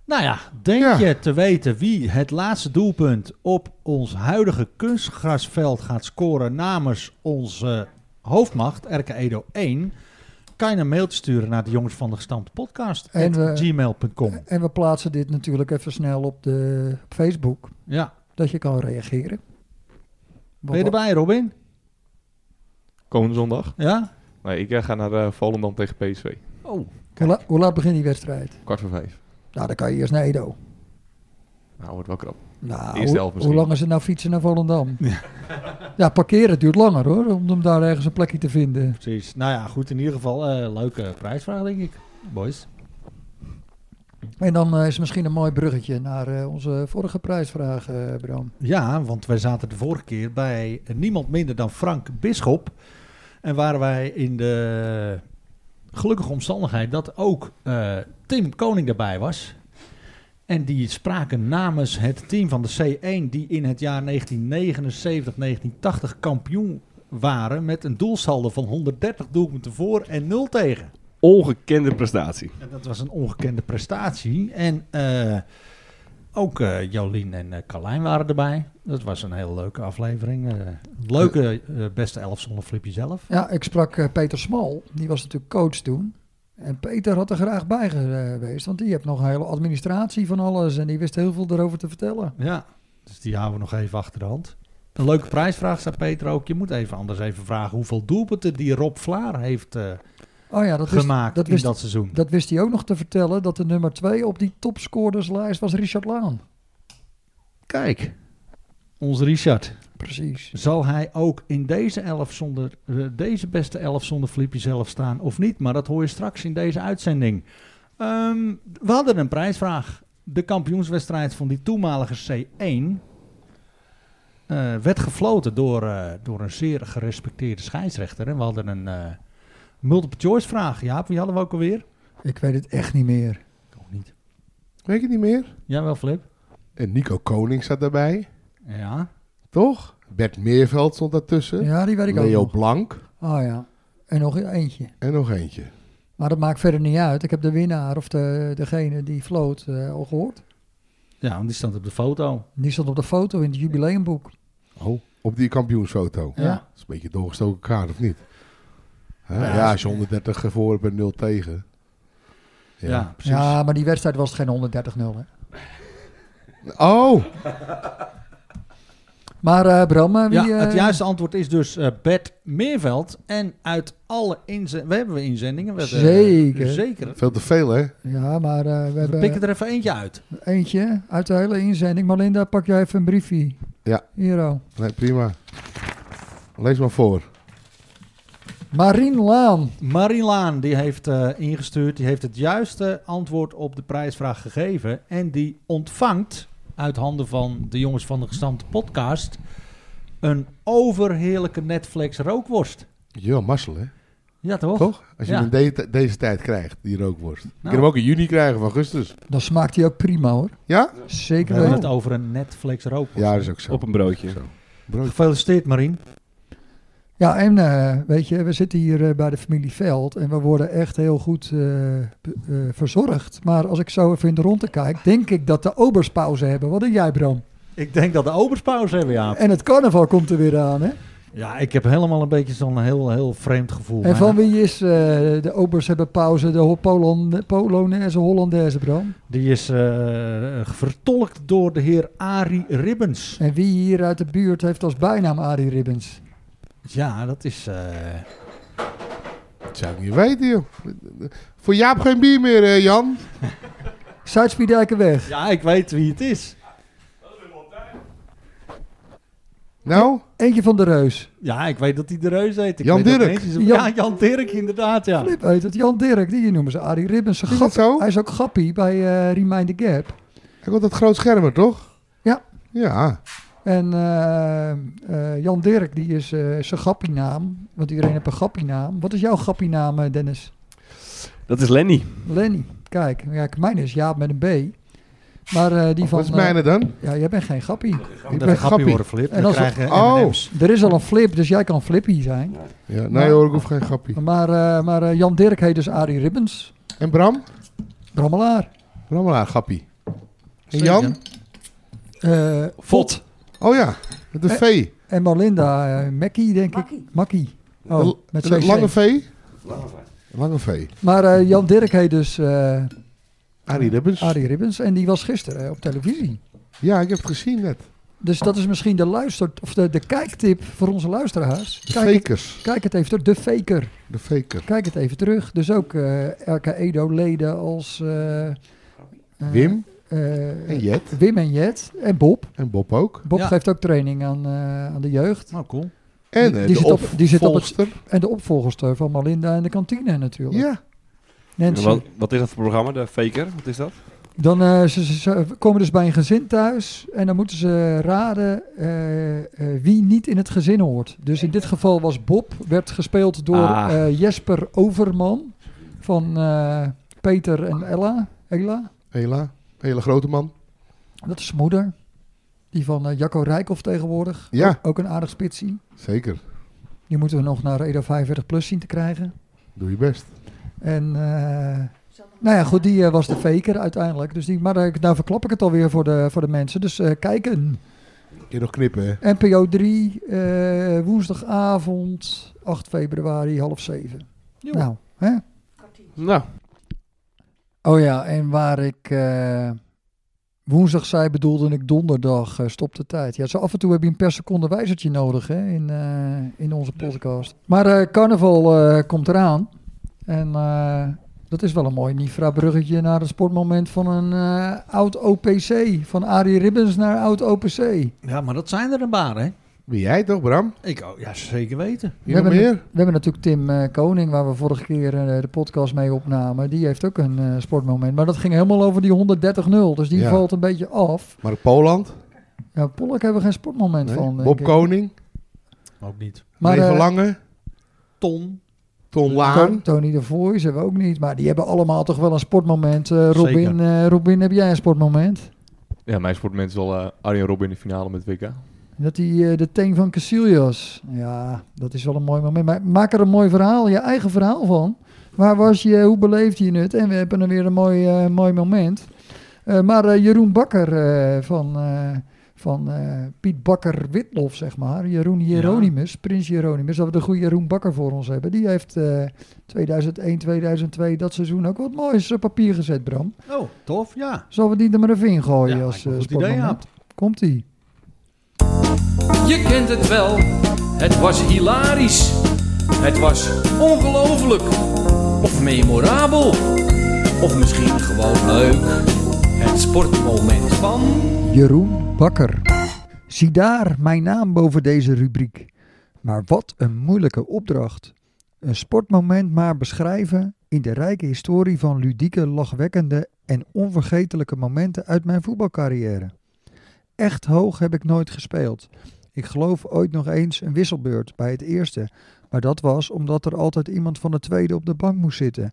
Speaker 2: Nou ja, denk
Speaker 4: Ja.
Speaker 2: je te weten wie het laatste doelpunt op ons huidige kunstgrasveld gaat scoren namens onze hoofdmacht, Erke Edo 1? Kan je een mailtje sturen naar de jongens van de gestampte podcast
Speaker 3: En we-
Speaker 2: gmail.com.
Speaker 3: En we plaatsen dit natuurlijk even snel op, de, op Facebook.
Speaker 2: Ja,
Speaker 3: Dat je kan reageren.
Speaker 2: ben je erbij Robin?
Speaker 7: Komende zondag?
Speaker 2: Ja?
Speaker 7: Nee, ik eh, ga naar eh, Volendam tegen PSV.
Speaker 2: Oh,
Speaker 3: Hoe, la- hoe laat begint die wedstrijd?
Speaker 7: Kwart voor vijf.
Speaker 3: Nou, dan kan je eerst naar Edo.
Speaker 7: Nou, wordt wel krap.
Speaker 3: Nou,
Speaker 7: Eerste helft
Speaker 3: hoe, hoe
Speaker 7: misschien.
Speaker 3: lang is het nou fietsen naar Volendam? Ja. parkeren duurt langer hoor, om hem daar ergens een plekje te vinden.
Speaker 2: precies. Nou ja, goed, in ieder geval eh, leuke prijsvraag denk ik, boys.
Speaker 3: En dan eh, is er misschien een mooi bruggetje naar eh, onze vorige prijsvraag, eh, Bram.
Speaker 2: Ja, want wij zaten de vorige keer bij niemand minder dan Frank Bisschop. En waren wij in de gelukkige omstandigheid dat ook eh, Tim Koning daarbij was. En die spraken namens het team van de C1, die in het jaar 1979-1980 kampioen waren. Met een doelsaldo van 130 doelpunten voor en 0 tegen.
Speaker 8: Ongekende prestatie.
Speaker 2: En dat was een ongekende prestatie. En eh, ook eh, Jolien en eh, Carlijn waren erbij. Dat was een hele leuke aflevering. Eh, leuke eh, beste elf zonder Flipje zelf.
Speaker 3: Ja, ik sprak eh, Peter Smal, die was natuurlijk coach toen. En Peter had er graag bij ge- eh, geweest, want die heeft nog een hele administratie van alles en die wist heel veel erover te vertellen.
Speaker 2: Ja, dus die houden we nog even achter de hand. Een leuke prijsvraag, zei Peter ook. Je moet even anders even vragen hoeveel doelpunten die Rob Vlaar heeft eh,
Speaker 3: Oh ja, dat, wist,
Speaker 2: gemaakt
Speaker 3: dat
Speaker 2: in
Speaker 3: wist-
Speaker 2: dat seizoen.
Speaker 3: dat wist hij ook nog te vertellen. Dat de nummer twee op die topscorerslijst was Richard Laan.
Speaker 2: Kijk, onze Richard.
Speaker 3: Precies.
Speaker 2: Zal hij ook in deze, elf zonder, eh, deze beste elf zonder Flippy zelf staan of niet? Maar dat hoor je straks in deze uitzending. Ehm, we hadden een prijsvraag. De kampioenswedstrijd van die toenmalige C1 eh, werd gefloten door, eh, door een zeer gerespecteerde scheidsrechter. En we hadden een eh, multiple choice vraag. Jaap, wie hadden we ook alweer?
Speaker 3: Ik weet het echt niet meer.
Speaker 2: Ook niet.
Speaker 4: Weet ik het niet meer?
Speaker 2: Jawel, Flip.
Speaker 4: En Nico Koning zat daarbij,
Speaker 2: Ja.
Speaker 4: toch? Bert Meerveld stond daartussen.
Speaker 3: Ja, die weet ik
Speaker 4: Leo
Speaker 3: ook nog.
Speaker 4: Blank.
Speaker 3: Oh ja. En nog eentje.
Speaker 4: En nog eentje.
Speaker 3: Maar dat maakt verder niet uit. Ik heb de winnaar of de, degene die floot eh, al gehoord.
Speaker 2: ja, want die stond op de foto.
Speaker 3: Die stond op de foto in het jubileumboek.
Speaker 4: Oh, op die kampioensfoto.
Speaker 2: Ja.
Speaker 4: Dat is een beetje doorgestoken kaart, of niet? Hè?
Speaker 2: Ja,
Speaker 4: ja,
Speaker 2: is-
Speaker 4: als je 130 voor hebt en 0 tegen.
Speaker 2: Ja, precies.
Speaker 3: Ja, maar die wedstrijd was het geen 130-0. hè.
Speaker 4: Oh,
Speaker 3: Maar eh, Bram, eh, wie...
Speaker 2: ja, het
Speaker 3: eh,
Speaker 2: juiste antwoord is dus eh Bert Meerveld. En uit alle inzendingen... We hebben we inzendingen. We hebben, eh,
Speaker 3: Zeker.
Speaker 2: zeker.
Speaker 4: veel te veel, hè?
Speaker 3: Ja, maar eh, we
Speaker 2: We
Speaker 3: hebben
Speaker 2: pikken er even eentje uit.
Speaker 3: eentje uit de hele inzending. Malinda, pak jij even een briefje.
Speaker 4: Ja.
Speaker 3: Hiero.
Speaker 4: Nee, prima. Lees maar voor.
Speaker 3: Marien Laan.
Speaker 2: Marie Laan die heeft eh, ingestuurd. Die heeft het juiste antwoord op de prijsvraag gegeven. En die ontvangt uit handen van de jongens van de gestampte podcast... een overheerlijke Netflix rookworst.
Speaker 4: Ja, mazzel, hè?
Speaker 2: Ja, toch?
Speaker 4: Toch? Als je
Speaker 2: Ja.
Speaker 4: hem de- deze tijd krijgt, die rookworst. Je
Speaker 2: Nou.
Speaker 4: kan hem ook in juni krijgen, of augustus.
Speaker 3: Dan smaakt hij ook prima hoor.
Speaker 4: Ja?
Speaker 2: We
Speaker 3: Zeker
Speaker 2: hebben
Speaker 3: weten.
Speaker 2: het over een Netflix rookworst.
Speaker 4: Ja, dat is ook zo.
Speaker 8: Op een broodje.
Speaker 4: Zo. Brood.
Speaker 2: Gefeliciteerd, Marien.
Speaker 3: Ja, en eh, weet je, we zitten hier eh, bij de familie Veld en we worden echt heel goed eh, be- eh, verzorgd. Maar als ik zo even in de ronde kijk, denk ik dat de obers pauze hebben. Wat denk jij, Bram?
Speaker 2: Ik denk dat de oberspauze hebben, ja.
Speaker 3: En het carnaval komt er weer aan, hè?
Speaker 2: Ja, ik heb helemaal een beetje zo'n heel, heel vreemd gevoel.
Speaker 3: En
Speaker 2: Maar
Speaker 3: van wie is eh, de obers hebben pauze, de Ho- Polon- Polonaise, Hollandaise, Bram?
Speaker 2: Die is eh, eh, vertolkt door de heer Arie Ribbens.
Speaker 3: En wie hier uit de buurt heeft als bijnaam Arie Ribbens?
Speaker 2: Ja, dat is... eh,
Speaker 4: Dat zou ik niet weten, joh. Voor Jaap geen bier meer, eh, Jan.
Speaker 3: Zuidspiedijkenweg.
Speaker 2: Ja, ik weet wie het is.
Speaker 4: Nou,
Speaker 3: Eentje van de Reus.
Speaker 2: Ja, ik weet dat hij de reus heet. Ik
Speaker 4: Jan
Speaker 2: weet dat
Speaker 4: Dirk.
Speaker 2: ineens-
Speaker 3: Jan-
Speaker 2: Ja, Jan Dirk, inderdaad, ja.
Speaker 3: Flip weet het, Jan Dirk, die hier noemen ze Arie Ribbens.
Speaker 4: is dat zo?
Speaker 3: Hij is ook grappie bij eh, Remind the Gap.
Speaker 4: Hij komt dat groot schermen, toch?
Speaker 3: Ja.
Speaker 4: Ja.
Speaker 3: En eh, eh, Jan Dirk, die is eh zijn gappienaam. Want iedereen heeft een gappienaam. Wat is jouw gappienaam, eh, Dennis?
Speaker 8: Dat is Lenny.
Speaker 3: Lenny. Kijk, ja, ik- mijn is Jaap met een B. Maar eh, die van...
Speaker 4: Oh, Wat is
Speaker 3: eh,
Speaker 4: mijne dan?
Speaker 3: ja, jij bent geen gappie.
Speaker 2: Ik
Speaker 4: ben grappie.
Speaker 2: worden, Flip.
Speaker 3: En
Speaker 2: Dan
Speaker 3: als het-
Speaker 2: krijg je
Speaker 4: Oh.
Speaker 2: M&M's.
Speaker 3: Er is al een flip, dus jij kan flippy zijn.
Speaker 4: Ja, nee hoor, ik hoef geen grappie.
Speaker 3: Maar, eh, maar eh, Jan Dirk heet dus Arie Ribbens.
Speaker 4: En Bram?
Speaker 3: Brammelaar.
Speaker 4: Bram maar aan, grappie. En
Speaker 2: Zeker.
Speaker 4: Jan?
Speaker 3: Eh,
Speaker 2: Vot.
Speaker 4: Oh ja, met een
Speaker 3: Eh,
Speaker 4: V.
Speaker 3: En Malinda eh Mackie, denk
Speaker 5: Makkie.
Speaker 3: ik. Makkie.
Speaker 4: Een-
Speaker 3: Oh, met
Speaker 4: een
Speaker 3: CC.
Speaker 4: lange V? Lange V.
Speaker 3: Maar eh, Jan Dirk heet dus eh,
Speaker 4: Arie Ribbens.
Speaker 3: Arie Ribbens. En die was gisteren eh, op televisie.
Speaker 4: Ja, ik heb het gezien net.
Speaker 3: Dus dat is misschien de, luister, of de, de kijktip voor onze luisteraars.
Speaker 4: De
Speaker 3: Kijk, het-
Speaker 4: fakers.
Speaker 3: kijk het even terug. De faker.
Speaker 4: De faker.
Speaker 3: Kijk het even terug. Dus ook eh RK Edo-leden als... eh, eh,
Speaker 4: Wim
Speaker 3: eh,
Speaker 4: en Jet.
Speaker 3: Wim en Jet. En Bob.
Speaker 4: En Bob ook.
Speaker 3: Bob
Speaker 2: Ja.
Speaker 3: geeft ook training aan, eh, aan de jeugd.
Speaker 4: Oh.
Speaker 2: Nou, cool.
Speaker 4: En
Speaker 3: Die-
Speaker 4: eh,
Speaker 3: die
Speaker 4: de
Speaker 3: zit op- die zit op het-
Speaker 4: opvolgster.
Speaker 3: En de opvolgers eh, van Malinda en de kantine natuurlijk.
Speaker 4: Ja.
Speaker 3: Nancy.
Speaker 8: Wat, wat is dat voor programma, de Faker? Wat is dat?
Speaker 3: Dan eh, ze, ze- ze komen dus bij een gezin thuis en dan moeten ze raden eh, eh, wie niet in het gezin hoort. Dus in dit geval was Bob, werd gespeeld door
Speaker 8: Ah.
Speaker 3: eh, Jesper Overman van eh, Peter en Ella. Ella,
Speaker 4: Hela. Hele grote man.
Speaker 3: dat is zijn moeder. Die van eh, Jacco Rijkoff tegenwoordig.
Speaker 4: Ja,
Speaker 3: Ook een aardig spitsie.
Speaker 4: zeker.
Speaker 3: Die moeten we nog naar Edo 45 Plus zien te krijgen.
Speaker 4: Doe je best.
Speaker 3: En eh, nou ja, goed, die eh, was de faker uiteindelijk. Dus die, maar eh, nou verklap ik het alweer voor de, voor de mensen. Dus eh, kijken.
Speaker 4: Je nog knippen, hè?
Speaker 3: NPO 3, eh, woensdagavond, 8 februari, half 7. Nou, hè?
Speaker 8: Nou,
Speaker 3: Oh ja, en waar ik eh, woensdag zei, bedoelde ik donderdag, eh, stop de tijd. Ja, zo af en toe heb je een per seconde wijzertje nodig hè, in, eh, in onze podcast. Maar eh, carnaval eh, komt eraan. Eh, En eh, dat is wel een mooi Nifra-bruggetje naar het sportmoment van een eh, oud OPC. Van Arie Ribbens naar oud OPC.
Speaker 2: Ja, maar dat zijn er een paar, hè?
Speaker 4: Ben jij toch, Bram?
Speaker 2: Ik, oh, ja, zeker weten.
Speaker 4: Hier nog
Speaker 3: hebben,
Speaker 4: meer?
Speaker 3: we hebben natuurlijk Tim eh, Koning, waar we vorige keer eh, de podcast mee opnamen. Die heeft ook een eh, sportmoment. Maar dat ging helemaal over die 130-0. Dus die
Speaker 4: Ja.
Speaker 3: valt een beetje af.
Speaker 4: Maar Poland?
Speaker 3: Ja, Pollak hebben we geen sportmoment
Speaker 4: Nee.
Speaker 3: van. denk
Speaker 4: Bob
Speaker 3: ik.
Speaker 4: Koning?
Speaker 2: Ook niet.
Speaker 3: Maar,
Speaker 4: Leven
Speaker 3: eh,
Speaker 4: Lange?
Speaker 2: Ton.
Speaker 4: Ton
Speaker 3: Ton-
Speaker 4: Laan?
Speaker 3: Tony de Voice hebben we ook niet. Maar die hebben allemaal toch wel een sportmoment. Eh, Robin,
Speaker 2: Zeker.
Speaker 3: eh, Robin, heb jij een sportmoment?
Speaker 7: Ja, mijn sportmoment is wel eh Arjen Robben in de finale met WK.
Speaker 3: Dat hij eh, de teen van Casillas. Ja, dat is wel een mooi moment. Maar maak er een mooi verhaal, je eigen verhaal van. Waar was je, hoe beleefde je het? En we hebben er weer een mooi, eh, mooi moment. Eh, maar eh, Jeroen Bakker eh, van, eh, van eh, Piet Bakker Witlof, zeg maar. Jeroen Hieronymus, Prins Hieronymus. Dat we de goede Jeroen Bakker voor ons hebben. Die heeft eh, 2001, 2002, dat seizoen ook wat moois op papier gezet, Bram.
Speaker 2: Oh, tof, ja.
Speaker 3: Zullen we die er maar even in gooien
Speaker 2: ja, lijkt
Speaker 3: als
Speaker 2: me
Speaker 3: eh,
Speaker 2: een goed idee,
Speaker 3: sportmoment?
Speaker 2: Aad.
Speaker 3: Komt-ie.
Speaker 9: Je kent het wel, het was hilarisch. Het was ongelooflijk. Of memorabel. Of misschien gewoon leuk. Het sportmoment van.
Speaker 3: Jeroen Bakker. Zie daar mijn naam boven deze rubriek. Maar wat een moeilijke opdracht. Een sportmoment maar beschrijven in de rijke historie van ludieke, lachwekkende en onvergetelijke momenten uit mijn voetbalcarrière. Echt hoog heb ik nooit gespeeld. Ik geloof ooit nog eens een wisselbeurt bij het eerste, maar dat was omdat er altijd iemand van de tweede op de bank moest zitten.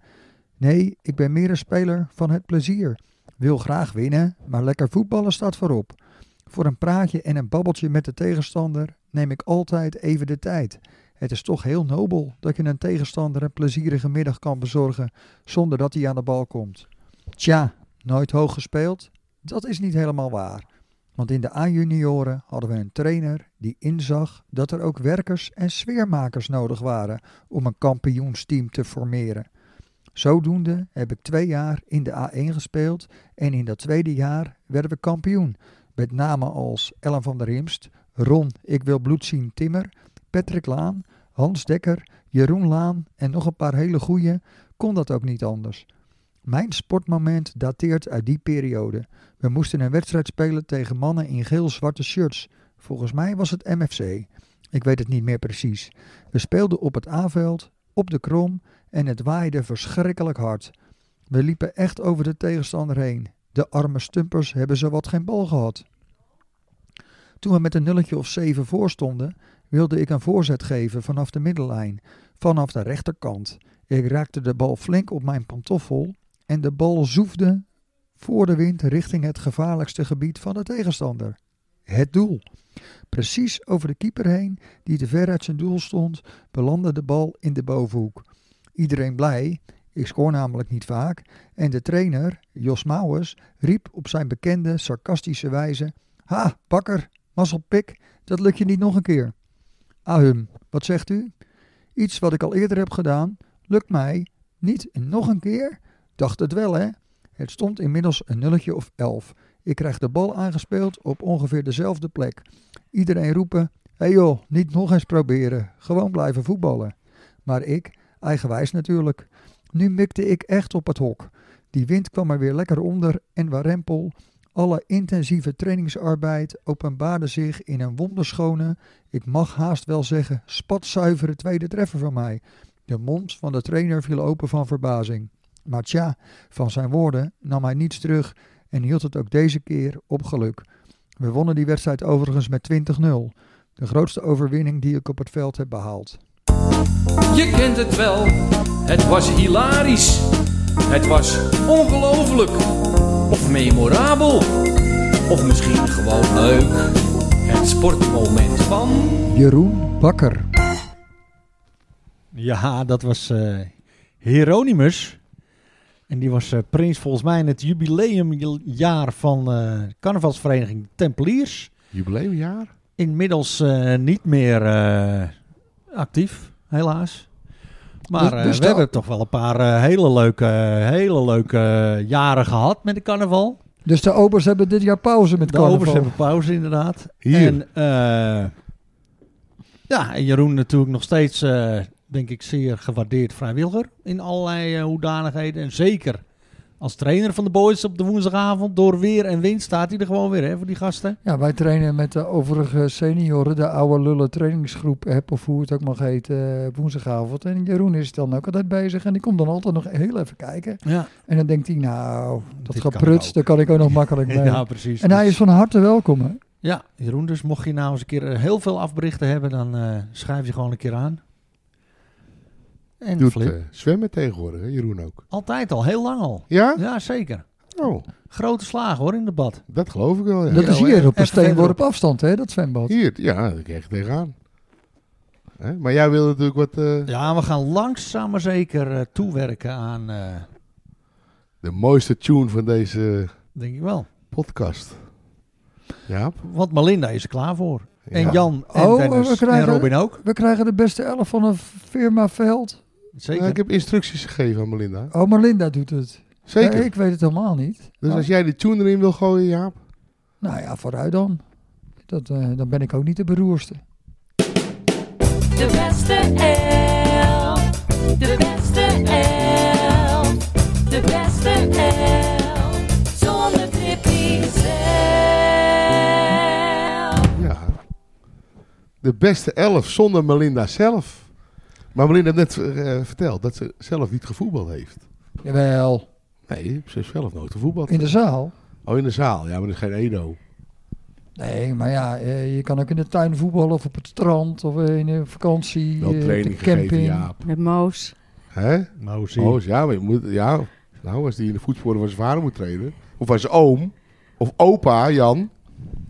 Speaker 3: Nee, ik ben meer een speler van het plezier. Wil graag winnen, maar lekker voetballen staat voorop. Voor een praatje en een babbeltje met de tegenstander neem ik altijd even de tijd. Het is toch heel nobel dat je een tegenstander een plezierige middag kan bezorgen zonder dat hij aan de bal komt. Tja, nooit hoog gespeeld? Dat is niet helemaal waar. Want in de A-junioren hadden we een trainer die inzag dat er ook werkers en sfeermakers nodig waren om een kampioensteam te formeren. Zodoende heb ik twee jaar in de A1 gespeeld en in dat tweede jaar werden we kampioen. Met namen als Ellen van der Imst, Ron Ik Wil Bloed Zien Timmer, Patrick Laan, Hans Dekker, Jeroen Laan en nog een paar hele goeie, kon dat ook niet anders. Mijn sportmoment dateert uit die periode. We moesten een wedstrijd spelen tegen mannen in geel-zwarte shirts. Volgens mij was het MFC. Ik weet het niet meer precies. We speelden op het A-veld, op de krom en het waaide verschrikkelijk hard. We liepen echt over de tegenstander heen. De arme stumpers hebben zowat geen bal gehad. Toen we met een nulletje of zeven voor stonden, wilde ik een voorzet geven vanaf de middenlijn, vanaf de rechterkant. Ik raakte de bal flink op mijn pantoffel en de bal zoefde voor de wind richting het gevaarlijkste gebied van de tegenstander. Het doel. Precies over de keeper heen, die te ver uit zijn doel stond, belandde de bal in de bovenhoek. Iedereen blij, ik scoor namelijk niet vaak. En de trainer, Jos Mouwers, riep op zijn bekende sarcastische wijze: Ha, bakker, mazzelpik, dat lukt je niet nog een keer. Ahum, wat zegt u? Iets wat ik al eerder heb gedaan, lukt mij niet nog een keer? Dacht het wel, hè? Het stond inmiddels een nulletje of elf. Ik krijg de bal aangespeeld op ongeveer dezelfde plek. Iedereen roepen: Hé joh, niet nog eens proberen, gewoon blijven voetballen. Maar ik, eigenwijs natuurlijk, nu mikte ik echt op het hok. Die wind kwam er weer lekker onder en warempel. Alle intensieve trainingsarbeid openbaarde zich in een wonderschone, ik mag haast wel zeggen, spatzuivere tweede treffer van mij. De mond van de trainer viel open van verbazing. Maar tja, van zijn woorden nam hij niets terug en hield het ook deze keer op geluk. We wonnen die wedstrijd overigens met 20-0. De grootste overwinning die ik op het veld heb behaald.
Speaker 9: Je kent het wel, het was hilarisch. Het was ongelooflijk. Of memorabel. Of misschien gewoon leuk. Het sportmoment van.
Speaker 3: Jeroen Bakker.
Speaker 2: Ja, dat was eh Hieronymus. En die was eh, prins volgens mij in het jubileumjaar van eh carnavalsvereniging Tempeliers.
Speaker 4: Jubileumjaar?
Speaker 2: Inmiddels eh, niet meer eh, actief, helaas. Maar
Speaker 3: Dus-
Speaker 2: eh,
Speaker 3: dus
Speaker 2: we
Speaker 3: de-
Speaker 2: hebben toch wel een paar eh, hele leuke, hele leuke eh, jaren gehad met de carnaval.
Speaker 3: Dus de obers hebben dit jaar pauze met
Speaker 2: De obers
Speaker 3: carnaval.
Speaker 2: hebben pauze inderdaad.
Speaker 4: Hier.
Speaker 2: En, eh, ja, en Jeroen natuurlijk nog steeds eh, denk ik, zeer gewaardeerd vrijwilliger in allerlei eh, hoedanigheden. En zeker als trainer van de boys op de woensdagavond, door weer en wind, staat hij er gewoon weer hè, voor die gasten.
Speaker 3: Ja, wij trainen met de overige senioren, de oude lullen trainingsgroep app of hoe het ook mag heten, eh, op woensdagavond. En Jeroen is dan ook altijd bezig en die komt dan altijd nog heel even kijken.
Speaker 2: Ja,
Speaker 3: En dan denkt hij, nou, dat
Speaker 2: Dit
Speaker 3: gepruts,
Speaker 2: kan
Speaker 3: daar kan ik ook nog makkelijk mee.
Speaker 2: ja precies.
Speaker 3: en hij
Speaker 2: Dus-
Speaker 3: is van harte welkom. hè.
Speaker 2: Ja, Jeroen, dus mocht je nou eens een keer eh, heel veel afberichten hebben, dan eh, schrijf je gewoon een keer aan. En
Speaker 4: Doet
Speaker 2: Flip,
Speaker 4: eh, zwemmen tegenwoordig, hè, Jeroen ook.
Speaker 2: altijd al, heel lang al.
Speaker 4: Ja?
Speaker 2: Ja, zeker.
Speaker 4: Oh,
Speaker 2: Grote slagen hoor in het bad.
Speaker 4: dat geloof ik wel, ja.
Speaker 3: Dat is
Speaker 2: hoor,
Speaker 3: hier op
Speaker 2: even
Speaker 3: een steenworp
Speaker 2: verderop.
Speaker 3: afstand, hè, dat zwembad.
Speaker 4: Hier, ja, daar kreeg ik tegenaan. Hè? Maar jij wil natuurlijk wat... eh,
Speaker 2: Ja, we gaan langzaam maar zeker eh, toewerken aan, eh,
Speaker 4: De mooiste tune van deze
Speaker 2: denk ik wel.
Speaker 4: podcast. Jaap?
Speaker 2: Want Malinda is er klaar voor. En
Speaker 4: Ja.
Speaker 2: Jan en
Speaker 3: Oh,
Speaker 2: Dennis
Speaker 3: we
Speaker 2: en
Speaker 3: krijgen-
Speaker 2: Robin ook.
Speaker 3: We krijgen de beste elf van een firma veld.
Speaker 2: Zeker.
Speaker 4: Nou, ik heb instructies gegeven aan Melinda.
Speaker 3: Oh, maar Linda doet het.
Speaker 4: Zeker.
Speaker 3: Ja, ik weet het helemaal niet.
Speaker 4: Dus als jij de tune erin wil gooien, Jaap.
Speaker 3: Nou ja, vooruit dan. Dat, eh, dan ben ik ook niet de beroerste.
Speaker 10: De beste elf. De beste elf. De beste elf. Zonder trippie zelf.
Speaker 4: Ja. De beste elf zonder Melinda zelf. Maar Melinda heeft net eh, verteld dat ze zelf niet gevoetbald heeft.
Speaker 3: Jawel.
Speaker 4: Nee, ze heeft zelf nooit gevoetbald.
Speaker 3: In de zaal?
Speaker 4: Oh, in de zaal. Ja, maar dat is geen Edo.
Speaker 3: Nee, maar ja, eh, je kan ook in de tuin voetballen of op het strand of eh, in een vakantie,
Speaker 4: Wel
Speaker 3: eh, op de
Speaker 4: training
Speaker 3: camping.
Speaker 4: gegeven, Jaap.
Speaker 5: Met Moos.
Speaker 4: Hè?
Speaker 2: Nou, zie.
Speaker 4: Oh, ja, maar je moet, ja. Nou, als die in de voetsporen van zijn vader moet trainen. Of van zijn oom. Of opa, Jan.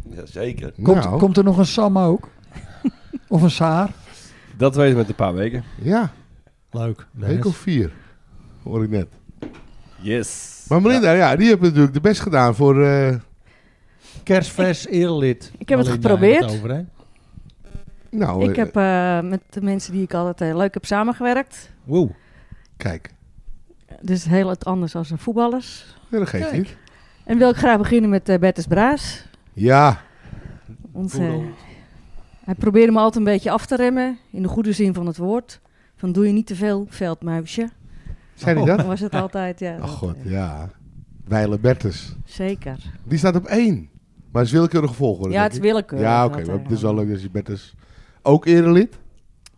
Speaker 6: Ja, zeker.
Speaker 3: Komt,
Speaker 4: nou,
Speaker 3: komt er nog een Sam ook? of een Saar?
Speaker 8: Dat weten we met een paar weken.
Speaker 4: Ja,
Speaker 2: Leuk.
Speaker 4: een week of
Speaker 2: Dennis.
Speaker 4: vier. Hoor ik net.
Speaker 8: Yes.
Speaker 4: Maar Melinda, ja, die heeft natuurlijk de best gedaan voor... eh,
Speaker 2: Kerstvers, erelid.
Speaker 5: Ik heb het
Speaker 2: Malinda
Speaker 5: geprobeerd.
Speaker 2: heeft het over, hè.
Speaker 4: nou,
Speaker 5: ik
Speaker 4: eh,
Speaker 5: heb eh, met de mensen die ik altijd eh, leuk heb samengewerkt.
Speaker 2: Wow.
Speaker 4: Kijk,
Speaker 5: Dus heel wat anders dan de voetballers.
Speaker 4: ja, dat geeft
Speaker 5: Kijk.
Speaker 4: niet.
Speaker 5: En wil ik graag beginnen met eh Bertus Braas.
Speaker 4: Ja,
Speaker 5: Onze, eh, hij probeerde me altijd een beetje af te remmen, in de goede zin van het woord. Van doe je niet te veel, veldmuisje.
Speaker 4: zei hij
Speaker 2: Oh.
Speaker 5: Dan
Speaker 4: dat?
Speaker 5: was het altijd, ja.
Speaker 4: Ach
Speaker 5: dat,
Speaker 4: god,
Speaker 5: eh,
Speaker 4: ja. Weile Bertus.
Speaker 5: Zeker.
Speaker 4: Die staat op één. Maar is willekeurig volgorde.
Speaker 5: Ja,
Speaker 4: denk
Speaker 5: het is
Speaker 4: ik.
Speaker 5: willekeurig.
Speaker 4: Ja,
Speaker 5: eh, wat
Speaker 4: oké.
Speaker 5: hij
Speaker 4: maar het is
Speaker 5: dan-
Speaker 4: wel leuk dat je Bertus ook erelid.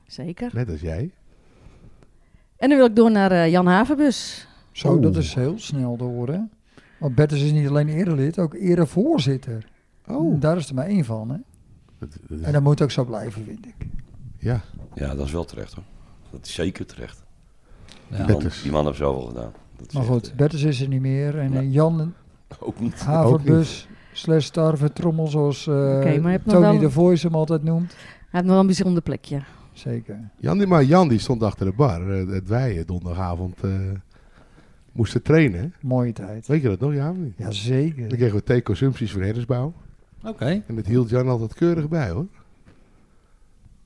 Speaker 5: Zeker.
Speaker 4: Net als jij.
Speaker 5: En dan wil ik door naar eh, Jan Havenbus.
Speaker 3: Zo, Oh, dat is heel snel te horen. Want Bertus is niet alleen erelid, ook erevoorzitter.
Speaker 4: Oh.
Speaker 3: Daar is er maar één van, hè?
Speaker 4: Dat- dat is-
Speaker 3: En dat moet ook zo blijven, vind ik.
Speaker 4: ja,
Speaker 6: Ja, dat is wel terecht hoor. Dat is zeker terecht.
Speaker 2: Ja.
Speaker 6: Die man,
Speaker 4: Bertus.
Speaker 6: die man heeft zoveel gedaan. Dat is
Speaker 3: Maar
Speaker 6: echt,
Speaker 3: goed, Bertus is er niet meer. En eh, Jan
Speaker 6: eh, Ook niet.
Speaker 3: Haverbus, slash Starver, Trommel, zoals eh,
Speaker 5: Oké, maar je hebt nog
Speaker 3: Tony
Speaker 5: wel-
Speaker 3: de Voice hem altijd noemt.
Speaker 5: Hij heeft nog wel een bijzonder plekje.
Speaker 3: Zeker.
Speaker 4: Jan, die, maar Jan die stond achter de bar. eh, Dat wij eh, donderdagavond eh, moesten trainen.
Speaker 3: Mooie tijd.
Speaker 4: Weet je dat nog, ja? of niet?
Speaker 3: Jazeker.
Speaker 4: Dan kregen we theeconsumpties voor herdersbouw.
Speaker 2: Oké.
Speaker 4: En dat hield Jan altijd keurig bij, hoor.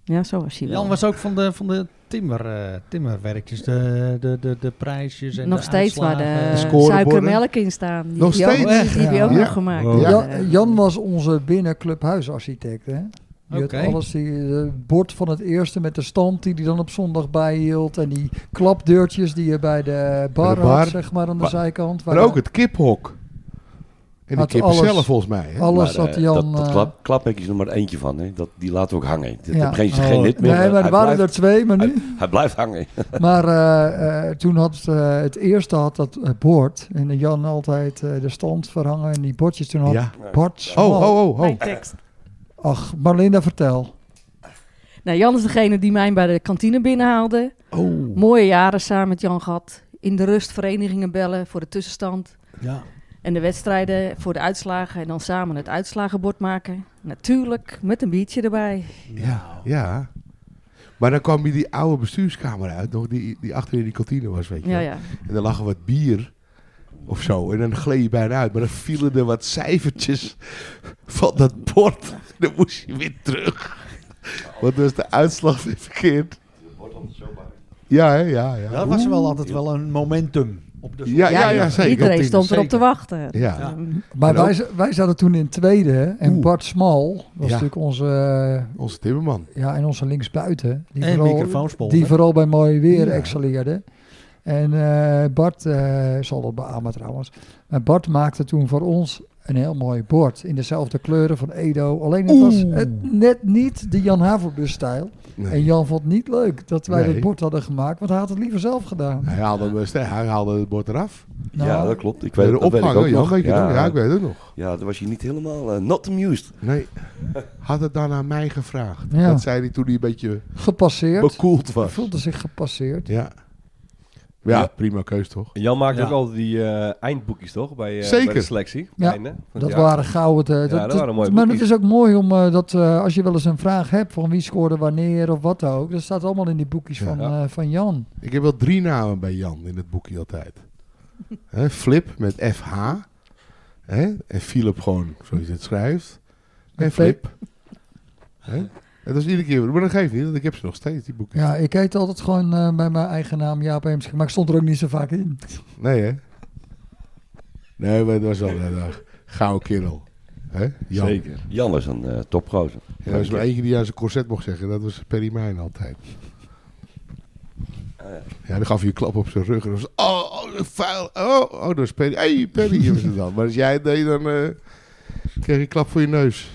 Speaker 5: Ja, zo was hij wel.
Speaker 2: Jan was ook van de, van de timmer, eh, timmerwerkjes, de, de, de, de prijsjes en
Speaker 5: nog
Speaker 2: dus de
Speaker 5: steeds waar de,
Speaker 2: uitslagen.
Speaker 4: scoreborden.
Speaker 5: suikermelk in staan. Die
Speaker 4: Nog
Speaker 5: heb je ook-
Speaker 4: steeds? Oh.
Speaker 5: Die heb je ook
Speaker 3: Ja.
Speaker 5: nog gemaakt. eh,
Speaker 2: Wow.
Speaker 5: Ja.
Speaker 3: Jan, Jan was onze binnenclubhuisarchitect. Hè? Die
Speaker 2: Oké.
Speaker 3: had alles, die, het bord van het eerste met de stand die hij dan op zondag bijhield. En die klapdeurtjes die je bij de bar,
Speaker 4: Bij de bar.
Speaker 3: had, zeg maar, aan de
Speaker 4: Maar-
Speaker 3: zijkant. waar
Speaker 4: Maar ook het kiphok. En de
Speaker 3: Had
Speaker 4: kippen
Speaker 3: alles-
Speaker 4: zelf, volgens mij. Hè?
Speaker 3: Alles
Speaker 6: Maar,
Speaker 3: had
Speaker 6: eh,
Speaker 3: Jan...
Speaker 6: Dat, dat
Speaker 3: eh,
Speaker 6: klap, klapmek is er maar eentje van. Hè. Dat, die laten we ook hangen. Dat
Speaker 3: ja.
Speaker 6: heb geen,
Speaker 3: Oh,
Speaker 6: geen lid meer.
Speaker 3: Nee, maar
Speaker 6: hij,
Speaker 3: er waren er
Speaker 6: blijft,
Speaker 3: twee, maar nu...
Speaker 6: hij blijft hangen.
Speaker 3: Maar eh, eh, toen had eh, het eerste had dat eh, bord. En Jan altijd eh, de stand verhangen en die bordjes. Toen had
Speaker 4: Ja.
Speaker 3: Bart
Speaker 4: Oh,
Speaker 3: Smal-
Speaker 4: oh, oh, oh.
Speaker 10: Mijn tekst.
Speaker 3: Ach, Marlinda, vertel.
Speaker 5: Nou, Jan is degene die mij bij de kantine binnenhaalde.
Speaker 4: Oh.
Speaker 5: Mooie jaren samen met Jan gehad. In de rust verenigingen bellen voor de tussenstand.
Speaker 2: Ja.
Speaker 5: En de wedstrijden voor de uitslagen. En dan samen het uitslagenbord maken. Natuurlijk, met een biertje erbij.
Speaker 4: Ja, ja. Maar dan kwam je die oude bestuurskamer uit, nog die, die achter in die kantine was, weet je.
Speaker 5: Ja,
Speaker 4: wel.
Speaker 5: ja.
Speaker 4: En dan lag er wat bier of zo. En dan gleed je bijna uit. Maar dan vielen er wat cijfertjes van dat bord. Dan moest je weer terug. Want dan was de uitslag weer verkeerd. Ja, hè? ja, ja.
Speaker 2: Dat was wel altijd wel een momentum op op. Dus
Speaker 4: Ja, ja, ja, zeker.
Speaker 5: Iedereen
Speaker 4: Op
Speaker 5: stond erop
Speaker 2: zeker.
Speaker 5: te wachten.
Speaker 4: Ja.
Speaker 2: Ja.
Speaker 3: Maar
Speaker 4: En
Speaker 3: wij,
Speaker 4: ook-
Speaker 3: za- wij zaten toen in het tweede. hè, En
Speaker 4: Oeh.
Speaker 3: Bart Smal was natuurlijk onze, eh,
Speaker 4: Onze timmerman.
Speaker 3: ja, en onze linksbuiten. Die
Speaker 2: en
Speaker 3: vooral-
Speaker 2: microfoonspolder.
Speaker 3: Die vooral bij mooi weer
Speaker 4: Ja.
Speaker 3: excelleerde. En eh, Bart, eh, zal dat beamen trouwens. Maar Bart maakte toen voor ons een heel mooi bord. In dezelfde kleuren van Edo. Alleen het was
Speaker 4: Oeh.
Speaker 3: het net niet de Jan Haverbus-stijl.
Speaker 4: Nee.
Speaker 3: En Jan vond het niet leuk dat wij
Speaker 4: Nee.
Speaker 3: dat bord hadden gemaakt. Want hij had het liever zelf gedaan.
Speaker 4: Hij haalde, hem, eh, hij haalde het bord eraf.
Speaker 3: Nou,
Speaker 6: ja, dat klopt. Ik weet,
Speaker 4: De
Speaker 6: dat weet ik
Speaker 4: opgang,
Speaker 6: ook
Speaker 4: hoor, Jan,
Speaker 6: nog.
Speaker 4: weet je
Speaker 6: ja,
Speaker 4: nog? Ja, ik weet het nog.
Speaker 6: ja, dan was je niet helemaal eh, not amused.
Speaker 4: Nee. Had het dan aan mij gevraagd.
Speaker 3: Ja.
Speaker 4: Dat zei hij toen hij een beetje
Speaker 3: Gepasseerd.
Speaker 4: bekoeld
Speaker 3: Hij
Speaker 4: was.
Speaker 3: voelde zich gepasseerd.
Speaker 4: Ja. Ja,
Speaker 8: Ja.
Speaker 4: prima keus toch?
Speaker 8: Jan maakt
Speaker 2: Ja.
Speaker 8: ook altijd die eh, eindboekjes, toch? Bij, eh,
Speaker 4: Zeker.
Speaker 8: bij de selectie.
Speaker 3: Ja,
Speaker 8: Einde van het
Speaker 3: Dat
Speaker 8: jaar.
Speaker 3: waren gauw het... eh, dat,
Speaker 8: dat waren mooie
Speaker 3: maar het
Speaker 8: boekjes.
Speaker 3: is ook mooi om eh, dat eh, als je wel eens een vraag hebt van wie scoorde wanneer of wat ook. Dat staat allemaal in die boekjes
Speaker 4: Ja.
Speaker 3: van,
Speaker 8: Ja.
Speaker 3: eh, van Jan.
Speaker 4: Ik heb wel drie namen bij Jan in het boekje altijd. Hè, Flip met FH. Hè? En Philip gewoon, zoals je het schrijft. En
Speaker 3: Met
Speaker 4: Flip. Hè? En dat is iedere keer, maar dat geeft niet, want ik heb ze nog steeds, die boekjes.
Speaker 3: Ja, ik heet altijd gewoon eh, bij mijn eigen naam Jaap Eemsche. Maar ik stond er ook niet zo vaak in.
Speaker 4: Nee, hè? Nee, maar dat was wel een eh, gouden kerel. Hè? Jan.
Speaker 8: Zeker.
Speaker 6: Jan was een eh topgozer.
Speaker 4: Ja, er was maar eentje die aan zijn corset mocht zeggen. Dat was Perry Mijn altijd. Ja, dan gaf je een klap op zijn rug. En dan was oh, oh, vuil. Oh, oh, dat is Perry. hey, Perry was het dan. Maar als jij het deed, dan eh, kreeg je een klap voor je neus.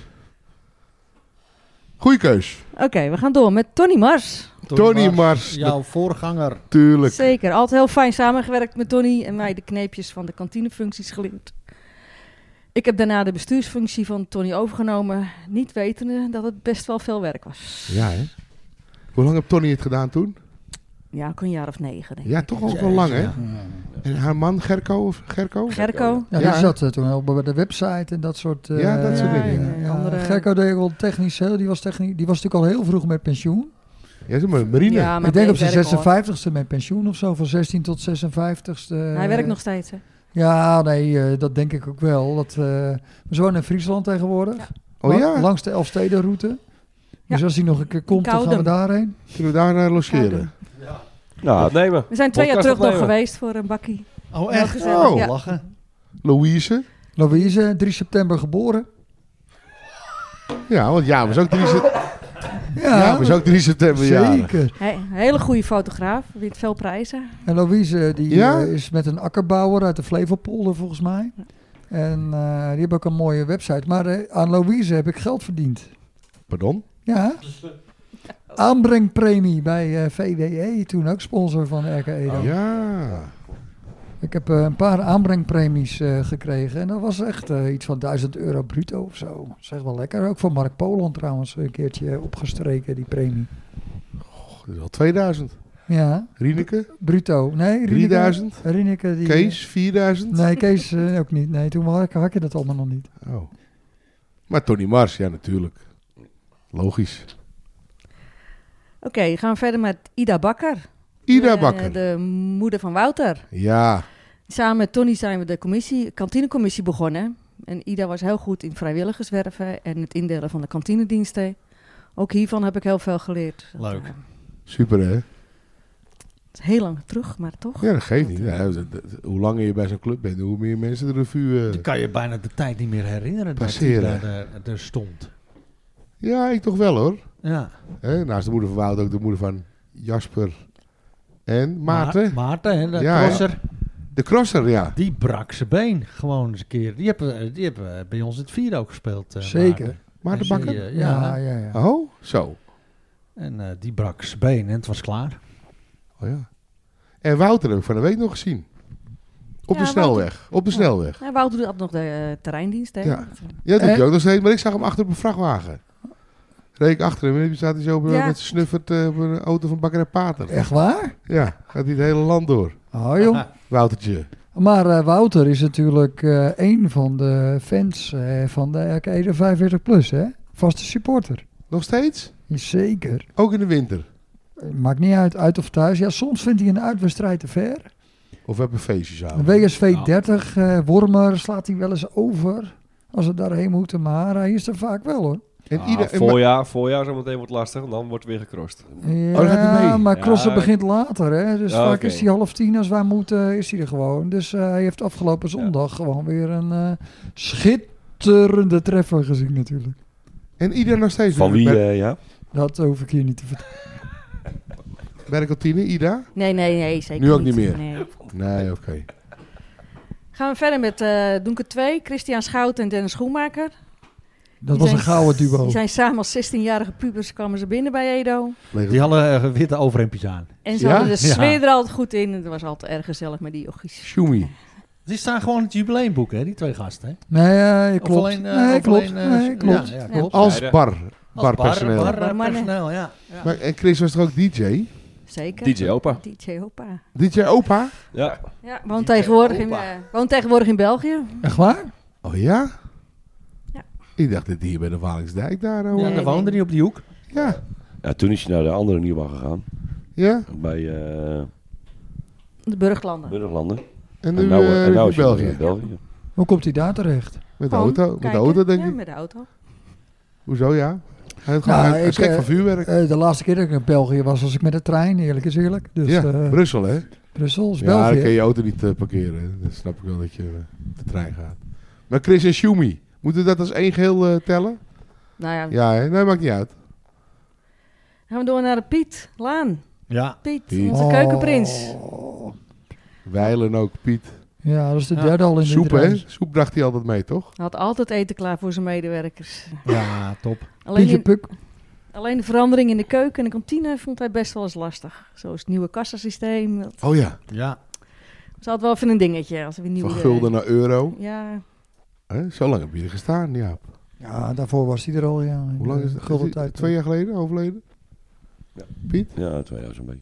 Speaker 4: Goeie keus.
Speaker 5: Oké, we gaan door met Tony Mars.
Speaker 4: Tony Mars,
Speaker 2: Jouw voorganger.
Speaker 4: natuurlijk.
Speaker 5: Zeker, altijd heel fijn samengewerkt met Tony en mij de kneepjes van de kantinefuncties geleerd. Ik heb daarna de bestuursfunctie van Tony overgenomen, niet wetende dat het best wel veel werk was.
Speaker 4: Ja, hè? Hoe lang heb Tony het gedaan toen?
Speaker 5: Ja, ook een jaar of negen denk ik.
Speaker 4: Ja, toch ook wel lang, hè?
Speaker 2: Ja.
Speaker 4: En haar man Gerco? Of Gerco?
Speaker 5: Gerco,
Speaker 3: Ja,
Speaker 4: Ja,
Speaker 3: die
Speaker 4: hè?
Speaker 3: zat eh, toen al bij de website en dat soort... eh,
Speaker 4: Ja, dat soort
Speaker 5: Ja,
Speaker 4: dingen.
Speaker 5: en, eh, andere-
Speaker 3: Gerco deed ook wel technisch heel. Die was, techni- die was natuurlijk al heel vroeg met pensioen.
Speaker 4: Ja, zeg maar, Marine.
Speaker 5: Ja, maar
Speaker 3: ik denk op
Speaker 5: Peter
Speaker 3: zijn
Speaker 5: werkt al, hoor.
Speaker 3: 56ste met pensioen of zo. Van 16 tot eh, 56ste.
Speaker 5: Hij werkt nog steeds, hè?
Speaker 3: Ja, nee, eh, dat denk ik ook wel. Dat, eh, we wonen in Friesland tegenwoordig.
Speaker 4: Oh
Speaker 3: Lang-
Speaker 4: ja,
Speaker 3: Langs de Elfstedenroute. Dus als hij nog een keer komt, dan gaan we
Speaker 5: Koudem.
Speaker 3: daarheen.
Speaker 4: kunnen we daar naar logeren?
Speaker 6: Nou,
Speaker 8: Opnemen.
Speaker 5: We zijn twee jaar
Speaker 8: Podcast
Speaker 5: terug nog
Speaker 8: opnemen.
Speaker 5: geweest voor een bakkie.
Speaker 2: Oh,
Speaker 5: Heel
Speaker 2: echt?
Speaker 5: gezellig,
Speaker 4: Oh.
Speaker 5: ja.
Speaker 2: Lachen.
Speaker 4: Louise?
Speaker 3: Louise, 3 september geboren.
Speaker 4: Ja, want ja, was ook 3 september.
Speaker 3: Ja,
Speaker 4: Ja, was ook 3 september. jarig.
Speaker 3: zeker.
Speaker 5: Hij- een hele goede fotograaf, wint veel prijzen.
Speaker 3: En Louise die
Speaker 4: Ja?
Speaker 3: eh, is met een akkerbouwer uit de Flevopolder volgens mij. En eh, die heeft ook een mooie website. Maar eh, aan Louise heb ik geld verdiend.
Speaker 4: Pardon?
Speaker 3: Ja. Aanbrengpremie bij eh, VDE, toen ook sponsor van E RK Edo.
Speaker 4: Oh Ja.
Speaker 3: Ik heb eh, een paar aanbrengpremies eh, gekregen. En dat was echt eh, iets van 1000 euro bruto of zo. Dat is echt wel lekker. Ook voor Mark Poland trouwens een keertje opgestreken, die premie.
Speaker 4: Och, dat is al 2000.
Speaker 3: Ja,
Speaker 4: Rieneke,
Speaker 3: bruto. Nee, Rieneke-
Speaker 4: 3000?
Speaker 3: Rieneke die...
Speaker 4: Kees, 4000.
Speaker 3: Nee, Kees eh, ook niet. Nee, toen had ik, had ik dat allemaal nog niet.
Speaker 4: Oh. Maar Tony Mars, ja, natuurlijk. Logisch.
Speaker 5: Oké, gaan we verder met Ida Bakker.
Speaker 4: Ida
Speaker 5: Eh,
Speaker 4: Bakker.
Speaker 5: De moeder van Wouter.
Speaker 4: Ja,
Speaker 5: Samen met Tony zijn we de commissie, kantinecommissie begonnen. En Ida was heel goed in vrijwilligerswerven en het indelen van de kantinediensten. Ook hiervan heb ik heel veel geleerd. Dat,
Speaker 2: Leuk.
Speaker 5: eh,
Speaker 4: super hè?
Speaker 5: het is heel lang terug, maar toch.
Speaker 4: Ja, dat geeft niet. Ja, dat- dat- hoe langer je bij zo'n club bent, hoe meer mensen de revue... eh,
Speaker 2: Dan kan je bijna de tijd niet meer herinneren
Speaker 4: Passeren.
Speaker 2: dat hij daar eh, er stond.
Speaker 4: Ja, ik toch wel hoor.
Speaker 2: Ja.
Speaker 4: Hè, naast de moeder van Wout ook de moeder van Jasper en Maarten.
Speaker 2: Ma- Maarten, hè, de
Speaker 4: Ja, hè.
Speaker 2: crosser.
Speaker 4: de crosser, ja.
Speaker 2: Die brak zijn been gewoon eens een keer. Die hebben, eh, die hebben eh, bij ons in het vier ook gespeeld. eh,
Speaker 3: Zeker.
Speaker 2: Maarten.
Speaker 4: Maarten
Speaker 2: En
Speaker 4: Bakker.
Speaker 2: die, eh, ja.
Speaker 3: Ja, ja, ja.
Speaker 4: Oh, zo.
Speaker 2: En eh, die brak zijn been en het was klaar.
Speaker 4: Oh ja. En Wouter heb ik van de week nog gezien. Op
Speaker 5: Ja,
Speaker 4: de snelweg. Op de
Speaker 5: Ja.
Speaker 4: snelweg.
Speaker 5: Ja, Nou, Wouter doet altijd nog de eh, terreindienst. Hè?
Speaker 4: Ja. Ja, dat doe
Speaker 3: Eh?
Speaker 4: je ook nog steeds. Maar ik zag hem achter op een vrachtwagen. Reed ik achter hem en dan staat hij zo op,
Speaker 5: Ja.
Speaker 4: met zijn snuffert eh, op een auto van Bakker en Pater.
Speaker 3: Echt waar?
Speaker 4: Ja, gaat hij het hele land door.
Speaker 3: Oh joh.
Speaker 4: Woutertje.
Speaker 3: Maar eh, Wouter is natuurlijk eh een van de fans eh, van de RK Edo 45 Plus, hè? Vaste supporter.
Speaker 4: Nog steeds?
Speaker 3: Zeker.
Speaker 4: Ook in de winter.
Speaker 3: Eh, Maakt niet uit, uit of thuis. Ja, soms vindt hij een uitwedstrijd te ver.
Speaker 4: Of we hebben feestjes aan.
Speaker 3: WSV 30, eh Wormer slaat hij wel eens over. Als we daarheen moeten, maar hij is er vaak wel hoor.
Speaker 4: En
Speaker 8: Ah,
Speaker 4: ieder, en maar-
Speaker 8: voorjaar, voorjaar zometeen wordt lastig en dan wordt weer gecrossed.
Speaker 4: Oh, dat gaat niet
Speaker 3: Ja,
Speaker 4: mee.
Speaker 3: maar
Speaker 8: Ja,
Speaker 3: crossen
Speaker 8: ik-
Speaker 3: begint later, hè. Dus
Speaker 8: Ja,
Speaker 3: vaak
Speaker 8: oké.
Speaker 3: is hij half tien als wij moeten, is hij er gewoon. Dus eh, hij heeft afgelopen zondag gewoon weer een eh, schitterende treffer gezien natuurlijk.
Speaker 4: en ieder nog steeds.
Speaker 6: Van wie,
Speaker 4: Bij,
Speaker 6: eh, ja?
Speaker 3: Dat hoef ik hier niet te vertellen.
Speaker 4: bij de kantine, Ida?
Speaker 5: Nee, nee, nee, zeker
Speaker 4: Nu ook niet meer.
Speaker 5: Nee.
Speaker 4: Nee, oké.
Speaker 5: Gaan we verder met eh Doenke 2, Christian Schout en Dennis Schoenmaker.
Speaker 3: Dat
Speaker 5: Die
Speaker 3: was een
Speaker 5: zijn-
Speaker 3: gouden duo.
Speaker 5: Die zijn samen als 16-jarige pubers kwamen ze binnen bij Edo.
Speaker 4: Leeg-
Speaker 2: Die hadden eh, witte overhemdjes aan.
Speaker 5: En ze
Speaker 4: Ja?
Speaker 5: hadden de
Speaker 2: Ja.
Speaker 5: sfeer er altijd goed in. Het was altijd erg gezellig met die jochies.
Speaker 4: Shumi.
Speaker 2: Die staan gewoon in het jubileumboek, hè, die twee gasten. Hè?
Speaker 3: Nee, eh, je
Speaker 2: Of
Speaker 3: klopt.
Speaker 2: alleen, eh,
Speaker 3: nee,
Speaker 2: of
Speaker 3: klopt.
Speaker 2: alleen, eh,
Speaker 3: nee, klopt.
Speaker 2: Ja, ja,
Speaker 5: Ja.
Speaker 2: klopt.
Speaker 4: Als
Speaker 8: Beide.
Speaker 4: bar. Barpersoneel.
Speaker 2: Bar, bar,
Speaker 5: Barmannen.
Speaker 2: personeel, ja. ja.
Speaker 4: Maar, en Chris was toch ook DJ?
Speaker 5: Zeker.
Speaker 8: DJ Opa.
Speaker 5: DJ Hoppa.
Speaker 4: DJ Opa?
Speaker 8: Ja.
Speaker 5: Ja, woont tegenwoordig, in, eh, woont tegenwoordig in België.
Speaker 3: Echt waar?
Speaker 4: Oh ja?
Speaker 5: Ja.
Speaker 4: Ik dacht dat hier bij de Walingsdijk daar. Oh.
Speaker 2: Ja,
Speaker 5: Nee,
Speaker 2: daar woonde
Speaker 5: nee.
Speaker 2: hij op die hoek.
Speaker 4: Ja.
Speaker 6: ja. Toen is je naar de andere nieuwbouw gegaan.
Speaker 4: Ja.
Speaker 6: Bij eh
Speaker 5: De Burglanden.
Speaker 6: Burglanden.
Speaker 4: En nu
Speaker 6: En nou, eh,
Speaker 4: eh,
Speaker 6: en nou is je
Speaker 4: België.
Speaker 6: in België.
Speaker 3: Hoe komt hij daar terecht?
Speaker 4: Met de
Speaker 5: Gewoon
Speaker 4: auto. Met de
Speaker 5: kijken.
Speaker 4: auto, denk
Speaker 5: Ja,
Speaker 4: ik.
Speaker 5: met de auto.
Speaker 4: Hoezo, ja? Hij had gewoon
Speaker 3: Nou,
Speaker 4: hij- hij
Speaker 3: ik,
Speaker 4: schrik
Speaker 3: eh,
Speaker 4: van vuurwerk.
Speaker 3: Eh, de laatste keer dat ik in België was, was ik met de trein, eerlijk is eerlijk. Dus
Speaker 4: ja,
Speaker 3: eh,
Speaker 4: Brussel, hè?
Speaker 3: Brussel is
Speaker 4: Ja,
Speaker 3: België.
Speaker 4: dan kan je auto niet eh, parkeren. Dan snap ik wel dat je eh, de trein gaat. Maar Chris en Shumi, moeten we dat als één geheel eh, tellen?
Speaker 5: Nou ja,
Speaker 4: Ja, hè? nee, maakt niet uit.
Speaker 5: gaan we door naar de Piet Laan.
Speaker 2: Ja.
Speaker 5: Piet,
Speaker 4: Piet.
Speaker 5: onze
Speaker 3: Oh.
Speaker 5: keukenprins.
Speaker 4: Weilen ook, Piet.
Speaker 3: Ja, dat is de
Speaker 2: Ja.
Speaker 3: derde al in
Speaker 4: Soep,
Speaker 3: de
Speaker 4: hè?
Speaker 3: trein.
Speaker 4: Soep bracht hij altijd mee, toch?
Speaker 5: Hij had altijd eten klaar voor zijn medewerkers.
Speaker 2: ja, top.
Speaker 5: Alleen,
Speaker 3: Pietje
Speaker 5: in-
Speaker 3: Puk.
Speaker 5: alleen de verandering in de keuken en de kantine vond hij best wel eens lastig. Zoals het nieuwe kassasysteem. Dat
Speaker 4: Oh ja,
Speaker 2: Ja.
Speaker 5: ze had wel even een dingetje als er weer nieuwe...
Speaker 4: van gulden naar euro.
Speaker 5: Ja,
Speaker 4: Hè? Zo lang heb je er gestaan, ja.
Speaker 3: Ja, daarvoor was hij er al, ja.
Speaker 4: Hoe lang is het?
Speaker 3: Gulden
Speaker 4: Is hij
Speaker 3: tijd. eh.
Speaker 4: Twee jaar geleden overleden?
Speaker 6: Ja, 2000 een beetje.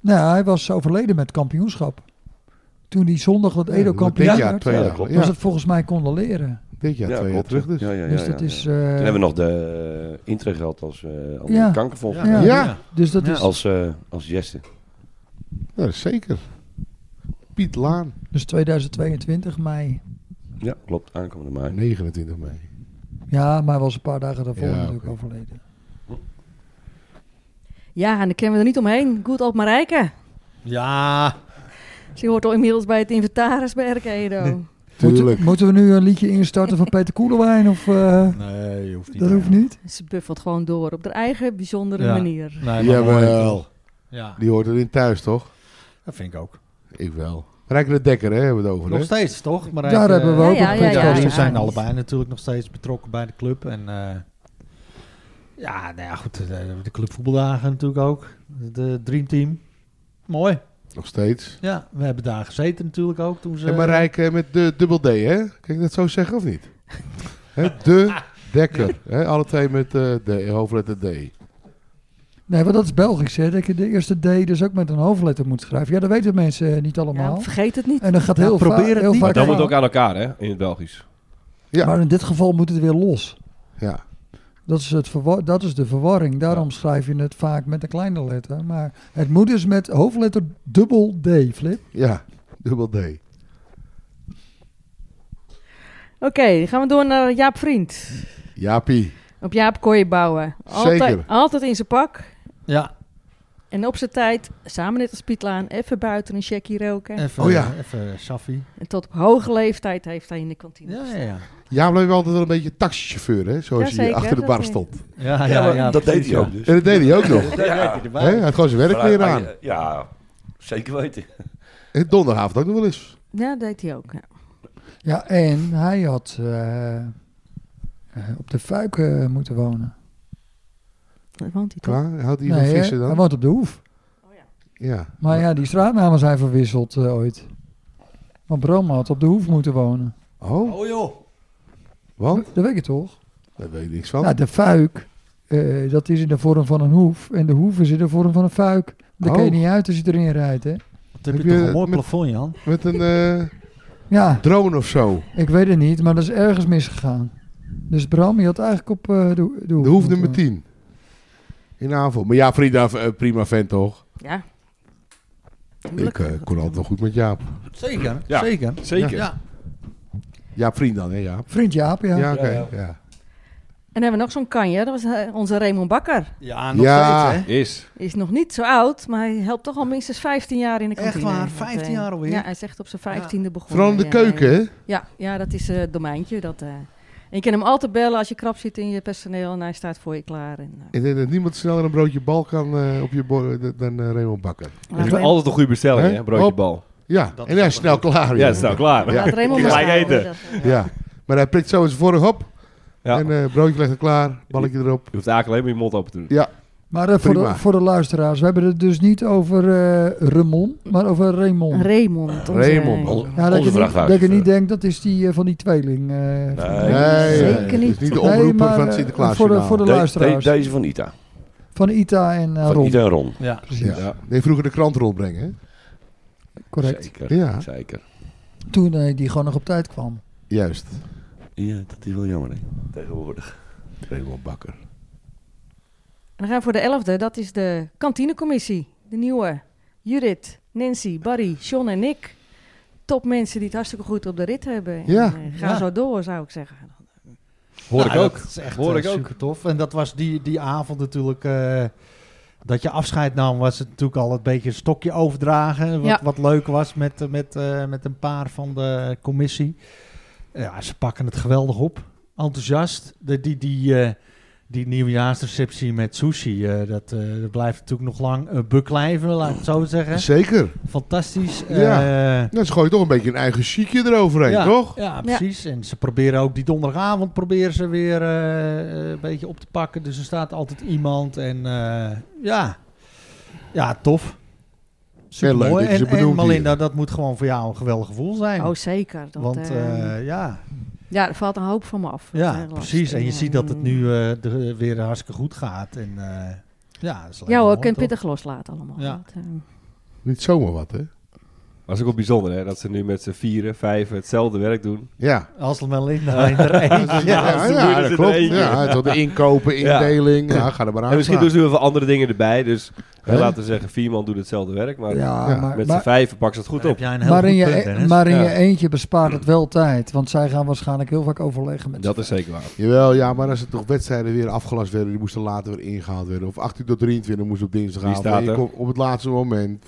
Speaker 3: Nou, hij was overleden met kampioenschap. Toen die zondag dat Edo
Speaker 4: dit
Speaker 3: kampioen
Speaker 4: jaar,
Speaker 3: werd,
Speaker 4: twee
Speaker 6: Ja,
Speaker 4: jaar
Speaker 6: dat klopt.
Speaker 4: geleden.
Speaker 3: was
Speaker 4: Ja,
Speaker 3: het volgens mij condoleren.
Speaker 4: dit jaar, twee jaar
Speaker 6: klopt.
Speaker 4: terug dus.
Speaker 6: Ja, ja, ja,
Speaker 3: dus
Speaker 6: ja,
Speaker 3: dat
Speaker 6: ja.
Speaker 3: is...
Speaker 6: Toen
Speaker 3: eh,
Speaker 6: hebben we nog de uh, intrageld als eh als
Speaker 3: Ja.
Speaker 6: kankervolg.
Speaker 3: Ja.
Speaker 4: Ja.
Speaker 3: Dus dat
Speaker 2: Ja.
Speaker 3: is...
Speaker 6: Als, eh als jester.
Speaker 4: Ja, Nou, dat is zeker. Piet Laan,
Speaker 3: Dus 2022, mei.
Speaker 6: Ja, klopt. Aankomende mei.
Speaker 4: 29 mei.
Speaker 3: Ja, maar hij was een paar dagen daarvoor
Speaker 4: Ja,
Speaker 3: natuurlijk
Speaker 4: oké.
Speaker 3: overleden.
Speaker 5: ja en dan kennen we er niet omheen. Goed op Marijke.
Speaker 2: Ja.
Speaker 5: Ze hoort al inmiddels bij het inventaris bij E RK Edo.
Speaker 4: Tuurlijk.
Speaker 3: Moeten, moeten we nu een liedje instarten van Peter Koelewijn? Of, eh,
Speaker 2: Nee, hoeft niet.
Speaker 3: dat hoeft niet.
Speaker 5: Ze buffelt gewoon door op haar eigen bijzondere
Speaker 2: Ja.
Speaker 5: manier.
Speaker 2: Nee, maar mooi, toch?
Speaker 4: Jawel,
Speaker 2: Ja,
Speaker 4: die hoort erin thuis, toch?
Speaker 2: dat vind ik ook.
Speaker 4: Ik wel. Rijker de Dekker, hè, hebben we het over, hè?
Speaker 2: Nog steeds, toch? Maar
Speaker 3: Daar hebben we ook
Speaker 5: Ja, ja,
Speaker 3: een
Speaker 5: ja,
Speaker 3: podcast.
Speaker 5: ja,
Speaker 2: die
Speaker 5: ja.
Speaker 2: zijn allebei natuurlijk nog steeds betrokken bij de club. En eh, ja, nou ja, goed. eh, De clubvoetbaldagen natuurlijk ook. De Dream Team. Mooi.
Speaker 4: Nog steeds.
Speaker 2: Ja, we hebben daar gezeten natuurlijk ook toen ze...
Speaker 4: En maar Rijker met de dubbel D, hè? Kan ik dat zo zeggen of niet? hè, de Dekker. Hè? Alle twee met eh, de hoofdletter D.
Speaker 3: Nee, want dat is Belgisch, hè. Dat je de eerste D dus ook met een hoofdletter moet schrijven. Ja, dat weten mensen eh, niet allemaal.
Speaker 5: Ja, vergeet het niet.
Speaker 3: en dat gaat
Speaker 2: Ja,
Speaker 3: heel,
Speaker 2: probeer
Speaker 3: va-
Speaker 2: het
Speaker 3: heel
Speaker 2: niet.
Speaker 3: vaak...
Speaker 2: Maar
Speaker 8: Dat
Speaker 2: Ja.
Speaker 8: moet ook aan elkaar, hè? In het Belgisch.
Speaker 4: Ja.
Speaker 3: Maar in dit geval moet het weer los.
Speaker 4: Ja.
Speaker 3: Dat is, het verwar- dat is de verwarring. Daarom schrijf je het vaak met een kleine letter. Maar het moet dus met hoofdletter dubbel D, Flip.
Speaker 4: Ja, dubbel D.
Speaker 5: Oké, dan gaan we door naar Jaap Vriend.
Speaker 4: Jaapie.
Speaker 5: Op Jaap kon je bouwen. Altijd,
Speaker 4: Zeker.
Speaker 5: altijd in zijn pak.
Speaker 2: Ja,
Speaker 5: En op zijn tijd, samen net als Piet Laan, even buiten een checkie roken.
Speaker 2: even,
Speaker 4: Oh ja.
Speaker 2: even Safi.
Speaker 5: En tot op hoge leeftijd heeft hij in de kantine.
Speaker 2: Ja,
Speaker 5: gestaan.
Speaker 2: ja, ja.
Speaker 4: Jaap bleef altijd wel een beetje een taxichauffeur, hè? Zoals hij
Speaker 5: Jazeker,
Speaker 4: achter de
Speaker 5: dat
Speaker 4: bar
Speaker 5: deed-
Speaker 4: stond.
Speaker 2: ja,
Speaker 6: Ja,
Speaker 2: ja,
Speaker 6: maar
Speaker 2: ja,
Speaker 6: dat deed
Speaker 2: precies,
Speaker 6: hij
Speaker 2: ja.
Speaker 6: ook dus.
Speaker 4: En dat deed hij ook nog.
Speaker 6: Dat deed hij
Speaker 4: hè? Hij had gewoon zijn werk weer aan.
Speaker 6: Ja, zeker weten.
Speaker 4: En donderdagavond ook nog wel eens.
Speaker 5: Ja, dat deed hij ook. Ja.
Speaker 3: Ja, en hij had eh, eh, op de Fuiken moeten wonen.
Speaker 5: Daar woont hij toch?
Speaker 4: Klaar? Houdt hij van
Speaker 3: Nee, hè,
Speaker 4: vissen
Speaker 3: hij
Speaker 4: dan?
Speaker 3: woont op de Hoef.
Speaker 4: Ja.
Speaker 3: Maar ja, die straatnamen zijn verwisseld eh, ooit. Want Bram had op de Hoef moeten wonen.
Speaker 4: Oh,
Speaker 2: Oh joh.
Speaker 4: want?
Speaker 3: Dat weet je toch?
Speaker 4: Daar weet ik niks van.
Speaker 3: Nou, de Fuik, eh, dat is in de vorm van een hoef. En de Hoef is in de vorm van een Fuik. Daar kun je
Speaker 4: Oh.
Speaker 3: niet uit als je erin rijdt, hè?
Speaker 2: Wat heb,
Speaker 4: Heb
Speaker 2: je
Speaker 4: je
Speaker 2: toch een mooi
Speaker 4: met-
Speaker 2: plafond, Jan?
Speaker 4: Met een eh,
Speaker 3: Ja,
Speaker 4: drone of zo.
Speaker 3: Ik weet het niet, maar dat is ergens misgegaan. Dus Bram, je had eigenlijk op eh, de, de,
Speaker 4: De hoef nummer
Speaker 3: moeten-
Speaker 4: 10. In de aanval. Maar ja, Frida, eh, prima vent toch?
Speaker 5: Ja.
Speaker 4: Ik eh, kon altijd wel goed met Jaap.
Speaker 2: Zeker,
Speaker 8: Ja.
Speaker 2: zeker.
Speaker 8: Zeker.
Speaker 2: Ja.
Speaker 4: Jaap vriend dan, hè Jaap?
Speaker 3: Vriend Jaap, ja.
Speaker 4: Ja, oké.
Speaker 8: Ja,
Speaker 4: Ja.
Speaker 5: dan hebben we nog zo'n kanje. Dat was eh, onze Raymond Bakker.
Speaker 2: Ja, nog
Speaker 4: Ja.
Speaker 2: steeds, hè?
Speaker 8: Is.
Speaker 5: Die is nog niet zo oud, maar hij helpt toch al minstens 15 jaar in de
Speaker 2: Echt
Speaker 5: kantine.
Speaker 2: waar?
Speaker 5: Dat, eh,
Speaker 2: 15 jaar alweer?
Speaker 5: Ja, hij is echt op zijn 15e begonnen.
Speaker 4: Vooral in de
Speaker 5: Ja,
Speaker 4: keuken,
Speaker 3: eh.
Speaker 4: hè?
Speaker 5: Ja, ja, dat is eh, het domeintje. Dat, eh, en je kan hem altijd bellen als je krap zit in je personeel en hij staat voor je klaar. En, eh,
Speaker 4: Ik denk dat niemand sneller een broodje bal kan eh, op je bord eh, dan eh, Raymond Bakker.
Speaker 8: Je
Speaker 5: laat
Speaker 8: doet
Speaker 5: Raymond-
Speaker 8: altijd een goede bestelling,
Speaker 4: Hè?
Speaker 8: hè? Broodje
Speaker 4: Hop.
Speaker 8: bal.
Speaker 4: Ja,
Speaker 2: Dat
Speaker 4: en
Speaker 2: is
Speaker 4: hij is
Speaker 2: wel
Speaker 4: snel
Speaker 2: goed.
Speaker 4: klaar.
Speaker 8: Ja,
Speaker 4: joh.
Speaker 8: is nou klaar.
Speaker 5: laat Raymond
Speaker 4: Ja.
Speaker 5: maar
Speaker 8: Gelijk
Speaker 5: staan,
Speaker 8: eten.
Speaker 5: hoor. Dat, eh,
Speaker 4: Ja. Maar hij prikt zo eens vorig op.
Speaker 8: Ja.
Speaker 4: En eh broodje legt er klaar, balletje erop.
Speaker 8: Je hoeft eigenlijk alleen maar je mond open te doen.
Speaker 3: Maar eh, voor, de,
Speaker 4: Prima.
Speaker 3: voor de luisteraars, we hebben het dus niet over eh Ramon, maar over Raymond.
Speaker 5: Raymond. onze-
Speaker 4: Raymond.
Speaker 3: ja, dat,
Speaker 6: Onze
Speaker 3: je niet,
Speaker 6: vrachtwagen.
Speaker 3: dat je niet denkt, dat is die eh, van die tweeling. eh,
Speaker 6: Nee,
Speaker 5: zeker
Speaker 4: eh, het is
Speaker 5: niet.
Speaker 4: niet de omroeper
Speaker 3: Nee, maar,
Speaker 4: van het
Speaker 3: eh,
Speaker 4: Sinterklaas.
Speaker 3: voor de- voor de
Speaker 6: De-
Speaker 3: luisteraars.
Speaker 6: de- deze van Ita.
Speaker 3: Van Ita en eh,
Speaker 6: Van
Speaker 3: Ron.
Speaker 6: Ita en Ron.
Speaker 2: Ja.
Speaker 4: Ja. Nee, vroeger de krantrol brengen. hè?
Speaker 3: Correct.
Speaker 6: Zeker.
Speaker 4: Ja.
Speaker 6: Zeker.
Speaker 3: Toen eh, die gewoon nog op tijd kwam.
Speaker 4: Juist.
Speaker 6: Ja, dat is wel jammer, hè? Tegenwoordig.
Speaker 4: Raymond Bakker.
Speaker 5: En dan gaan we voor de elfde. Dat is de kantinecommissie. De nieuwe. Judith, Nancy, Barry, John en Nick. Top mensen die het hartstikke goed op de rit hebben. En,
Speaker 4: Ja.
Speaker 5: eh, ga
Speaker 2: Ja.
Speaker 5: zo door, zou ik zeggen.
Speaker 8: Hoor
Speaker 2: Nou,
Speaker 8: ik ook.
Speaker 2: Dat is echt
Speaker 8: Hoor
Speaker 2: eh,
Speaker 8: ik ook.
Speaker 2: super tof. En dat was die, die avond natuurlijk. eh, dat je afscheid nam, was het natuurlijk al een beetje een stokje overdragen. Wat,
Speaker 5: Ja.
Speaker 2: wat leuk was met, eh, met, eh, met een paar van de commissie. Ja, ze pakken het geweldig op. Enthousiast. De, die, die, eh, die nieuwjaarsreceptie met sushi, eh, dat, eh, dat blijft natuurlijk nog lang eh, beklijven, laat ik het zo zeggen.
Speaker 4: Zeker.
Speaker 2: Fantastisch.
Speaker 4: Ja.
Speaker 2: eh,
Speaker 4: Nou, ze gooien toch een beetje een eigen chique eroverheen,
Speaker 2: ja,
Speaker 4: toch?
Speaker 2: Ja, precies. En ze proberen ook die donderdagavond proberen ze weer eh, een beetje op te pakken. Dus er staat altijd iemand. En eh, ja. ja, tof.
Speaker 4: Heel leuk
Speaker 2: Mooi.
Speaker 4: dat je ze
Speaker 2: En, en
Speaker 4: benoemt
Speaker 2: Malinda,
Speaker 4: hier.
Speaker 2: dat moet gewoon voor jou een geweldig gevoel zijn.
Speaker 5: Oh, zeker. Dat,
Speaker 2: Want
Speaker 5: eh,
Speaker 2: eh, ja,
Speaker 5: ja, er valt een hoop van me af. Dat,
Speaker 2: ja
Speaker 5: eh, last.
Speaker 2: precies. En je
Speaker 5: eh,
Speaker 2: ziet dat het nu eh, de- weer hartstikke goed gaat. En, eh, ja, dat is alleen
Speaker 5: Ja
Speaker 2: maar
Speaker 5: hoor,
Speaker 2: mooi,
Speaker 5: ik kan
Speaker 2: toch?
Speaker 5: pittig loslaten allemaal.
Speaker 2: Ja.
Speaker 5: Dat, eh,
Speaker 4: Niet zomaar wat, hè?
Speaker 8: Maar het is ook wel bijzonder, hè? Dat ze nu met z'n vieren, vijven hetzelfde werk doen.
Speaker 4: Ja.
Speaker 2: Als Malinda in de rij.
Speaker 4: ja,
Speaker 8: ze doen het
Speaker 4: dat
Speaker 8: in
Speaker 4: klopt.
Speaker 8: één keer.
Speaker 4: Ja, tot de inkopen,
Speaker 8: Ja.
Speaker 4: indeling. Ja, ga er maar aan.
Speaker 8: en misschien
Speaker 4: staan.
Speaker 8: doen ze nu even andere dingen erbij. Dus hè,
Speaker 4: Hè?
Speaker 8: laten we zeggen, vier man doet hetzelfde werk. Maar
Speaker 3: Ja,
Speaker 4: Ja,
Speaker 3: maar,
Speaker 8: met z'n
Speaker 3: maar,
Speaker 8: vijven pakken ze het goed
Speaker 2: Daar
Speaker 8: op.
Speaker 2: heb jij een heel
Speaker 3: maar in,
Speaker 2: goed
Speaker 3: je, e-
Speaker 2: punt, Dennis.
Speaker 3: maar in
Speaker 8: Ja.
Speaker 3: je eentje bespaart het wel tijd. Want zij gaan waarschijnlijk heel vaak overleggen met
Speaker 8: Dat is zeker waar.
Speaker 4: Jawel, ja, maar als er toch wedstrijden weer afgelast werden, die moesten later weer ingehaald worden. Of 8 uur tot 23 moest op dinsdag
Speaker 8: Wie staat er?
Speaker 4: Op het laatste moment,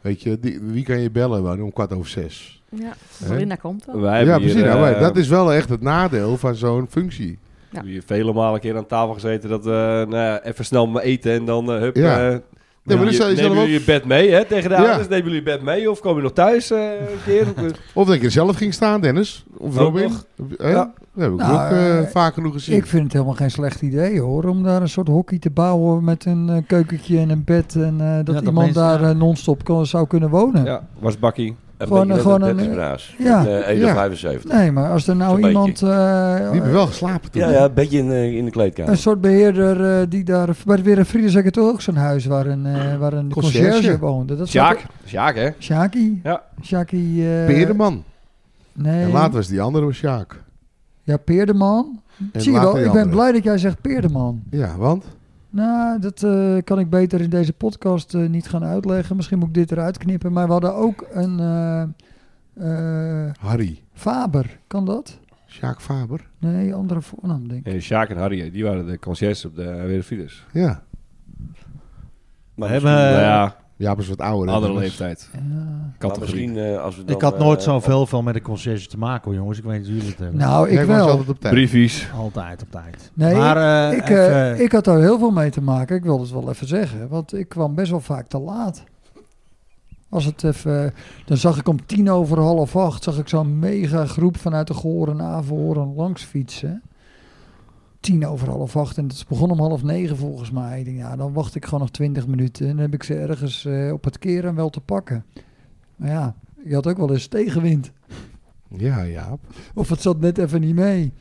Speaker 4: weet je, die, wie kan je bellen? Wel, om kwart over zes.
Speaker 5: ja,
Speaker 4: Hè?
Speaker 5: Linda komt wel.
Speaker 8: Wij
Speaker 4: ja,
Speaker 8: hebben
Speaker 4: precies.
Speaker 8: Hier,
Speaker 4: nou,
Speaker 8: eh,
Speaker 4: maar dat is wel echt het nadeel van zo'n functie.
Speaker 8: we hebben hier vele malen een keer aan tafel gezeten. Dat eh nou, ja, even snel maar eten en dan eh, hup.
Speaker 4: Ja.
Speaker 8: eh,
Speaker 4: maar
Speaker 8: neem
Speaker 4: dat
Speaker 8: je-
Speaker 4: zou je zelf
Speaker 8: nemen jullie
Speaker 4: ook-
Speaker 8: je bed mee, hè? Tegen de
Speaker 4: Ja.
Speaker 8: ouders. Nemen jullie je bed mee? Of komen je nog thuis eh, een keer?
Speaker 4: Of dat je er zelf ging staan, Dennis. Of
Speaker 8: Ook
Speaker 4: Robin.
Speaker 8: nog.
Speaker 4: Hè?
Speaker 8: Ja.
Speaker 4: Dat heb ik
Speaker 3: Nou,
Speaker 4: ook eh,
Speaker 3: eh,
Speaker 4: vaak genoeg gezien.
Speaker 3: Ik vind het helemaal geen slecht idee hoor, om daar een soort hockey te bouwen met een eh, keukentje en een bed en eh, dat,
Speaker 2: dat
Speaker 3: iemand
Speaker 2: mensen-
Speaker 3: daar eh, non-stop kon- zou kunnen wonen.
Speaker 8: ja, was bakkie.
Speaker 6: Een
Speaker 3: Gewoon-
Speaker 6: beetje
Speaker 3: gewoon
Speaker 6: net
Speaker 3: een-
Speaker 6: een Braas.
Speaker 3: ja.
Speaker 6: Met, eh, 1
Speaker 4: Ja.
Speaker 6: 75.
Speaker 3: Nee, maar als er nou
Speaker 6: Zo'n
Speaker 3: iemand, eh,
Speaker 4: Die hebben wel geslapen toen.
Speaker 6: Ja, ja, een beetje in, eh, in de
Speaker 3: een
Speaker 6: kleedkamer.
Speaker 3: soort beheerder eh, die daar, bij weer een vrienden zeg ik toch ook zo'n huis waar een, eh, waar een
Speaker 4: Conciërge.
Speaker 3: conciërge woonde. Dat zat
Speaker 8: Sjaak. Sjaak, hè?
Speaker 3: ook- Sjaakie?
Speaker 8: Ja.
Speaker 3: Sjaakie, eh,
Speaker 4: Peerdeman.
Speaker 3: Nee.
Speaker 4: En later was die andere was Sjaak.
Speaker 3: Ja, Peerdeman.
Speaker 4: En
Speaker 3: Zie je
Speaker 4: later
Speaker 3: wel,
Speaker 4: die
Speaker 3: ik ben
Speaker 4: andere.
Speaker 3: blij dat jij zegt Peerdeman.
Speaker 4: Ja, want?
Speaker 3: Nou, dat eh, kan ik beter in deze podcast eh, niet gaan uitleggen. Misschien moet ik dit eruit knippen. Maar we hadden ook een eh, eh,
Speaker 4: Harry.
Speaker 3: Faber. Kan dat?
Speaker 4: Sjaak Faber.
Speaker 3: Nee, andere voornaam denk ik.
Speaker 8: En Sjaak en Harry, eh, die waren de conciërges op de uh, Wereldvrienders.
Speaker 4: Ja.
Speaker 6: Maar
Speaker 2: We hebben-
Speaker 6: misschien-
Speaker 2: Eh,
Speaker 8: Nou ja,
Speaker 4: Ja, maar is wat ouder. hè,
Speaker 8: andere
Speaker 4: Dennis?
Speaker 8: leeftijd.
Speaker 3: Ja.
Speaker 6: maar
Speaker 8: Categorie.
Speaker 6: misschien, eh, als we dan,
Speaker 2: Ik had nooit
Speaker 6: eh,
Speaker 2: zoveel van met de conciërge te maken, hoor, jongens. Ik weet niet hoe jullie het hebben.
Speaker 3: Nou, ik
Speaker 4: Jij was
Speaker 3: wel.
Speaker 4: altijd op tijd.
Speaker 8: Briefies.
Speaker 2: Altijd op tijd.
Speaker 3: Nee,
Speaker 2: maar, eh,
Speaker 3: Ik, eh,
Speaker 2: even-
Speaker 3: ik had daar heel veel mee te maken. Ik wil het wel even zeggen. Want ik kwam best wel vaak te laat. Als het even, eh, dan zag ik om tien over half acht... zag ik zo'n mega groep vanuit de Goren, Averhoorn langs fietsen. Tien over half acht. En het begon om half negen volgens mij. Ik denk, ja, dan wacht ik gewoon nog twintig minuten. En dan heb ik ze ergens eh, op het keren wel te pakken. Maar ja, je had ook wel eens tegenwind.
Speaker 4: Ja, Jaap.
Speaker 3: Of het zat net even niet mee.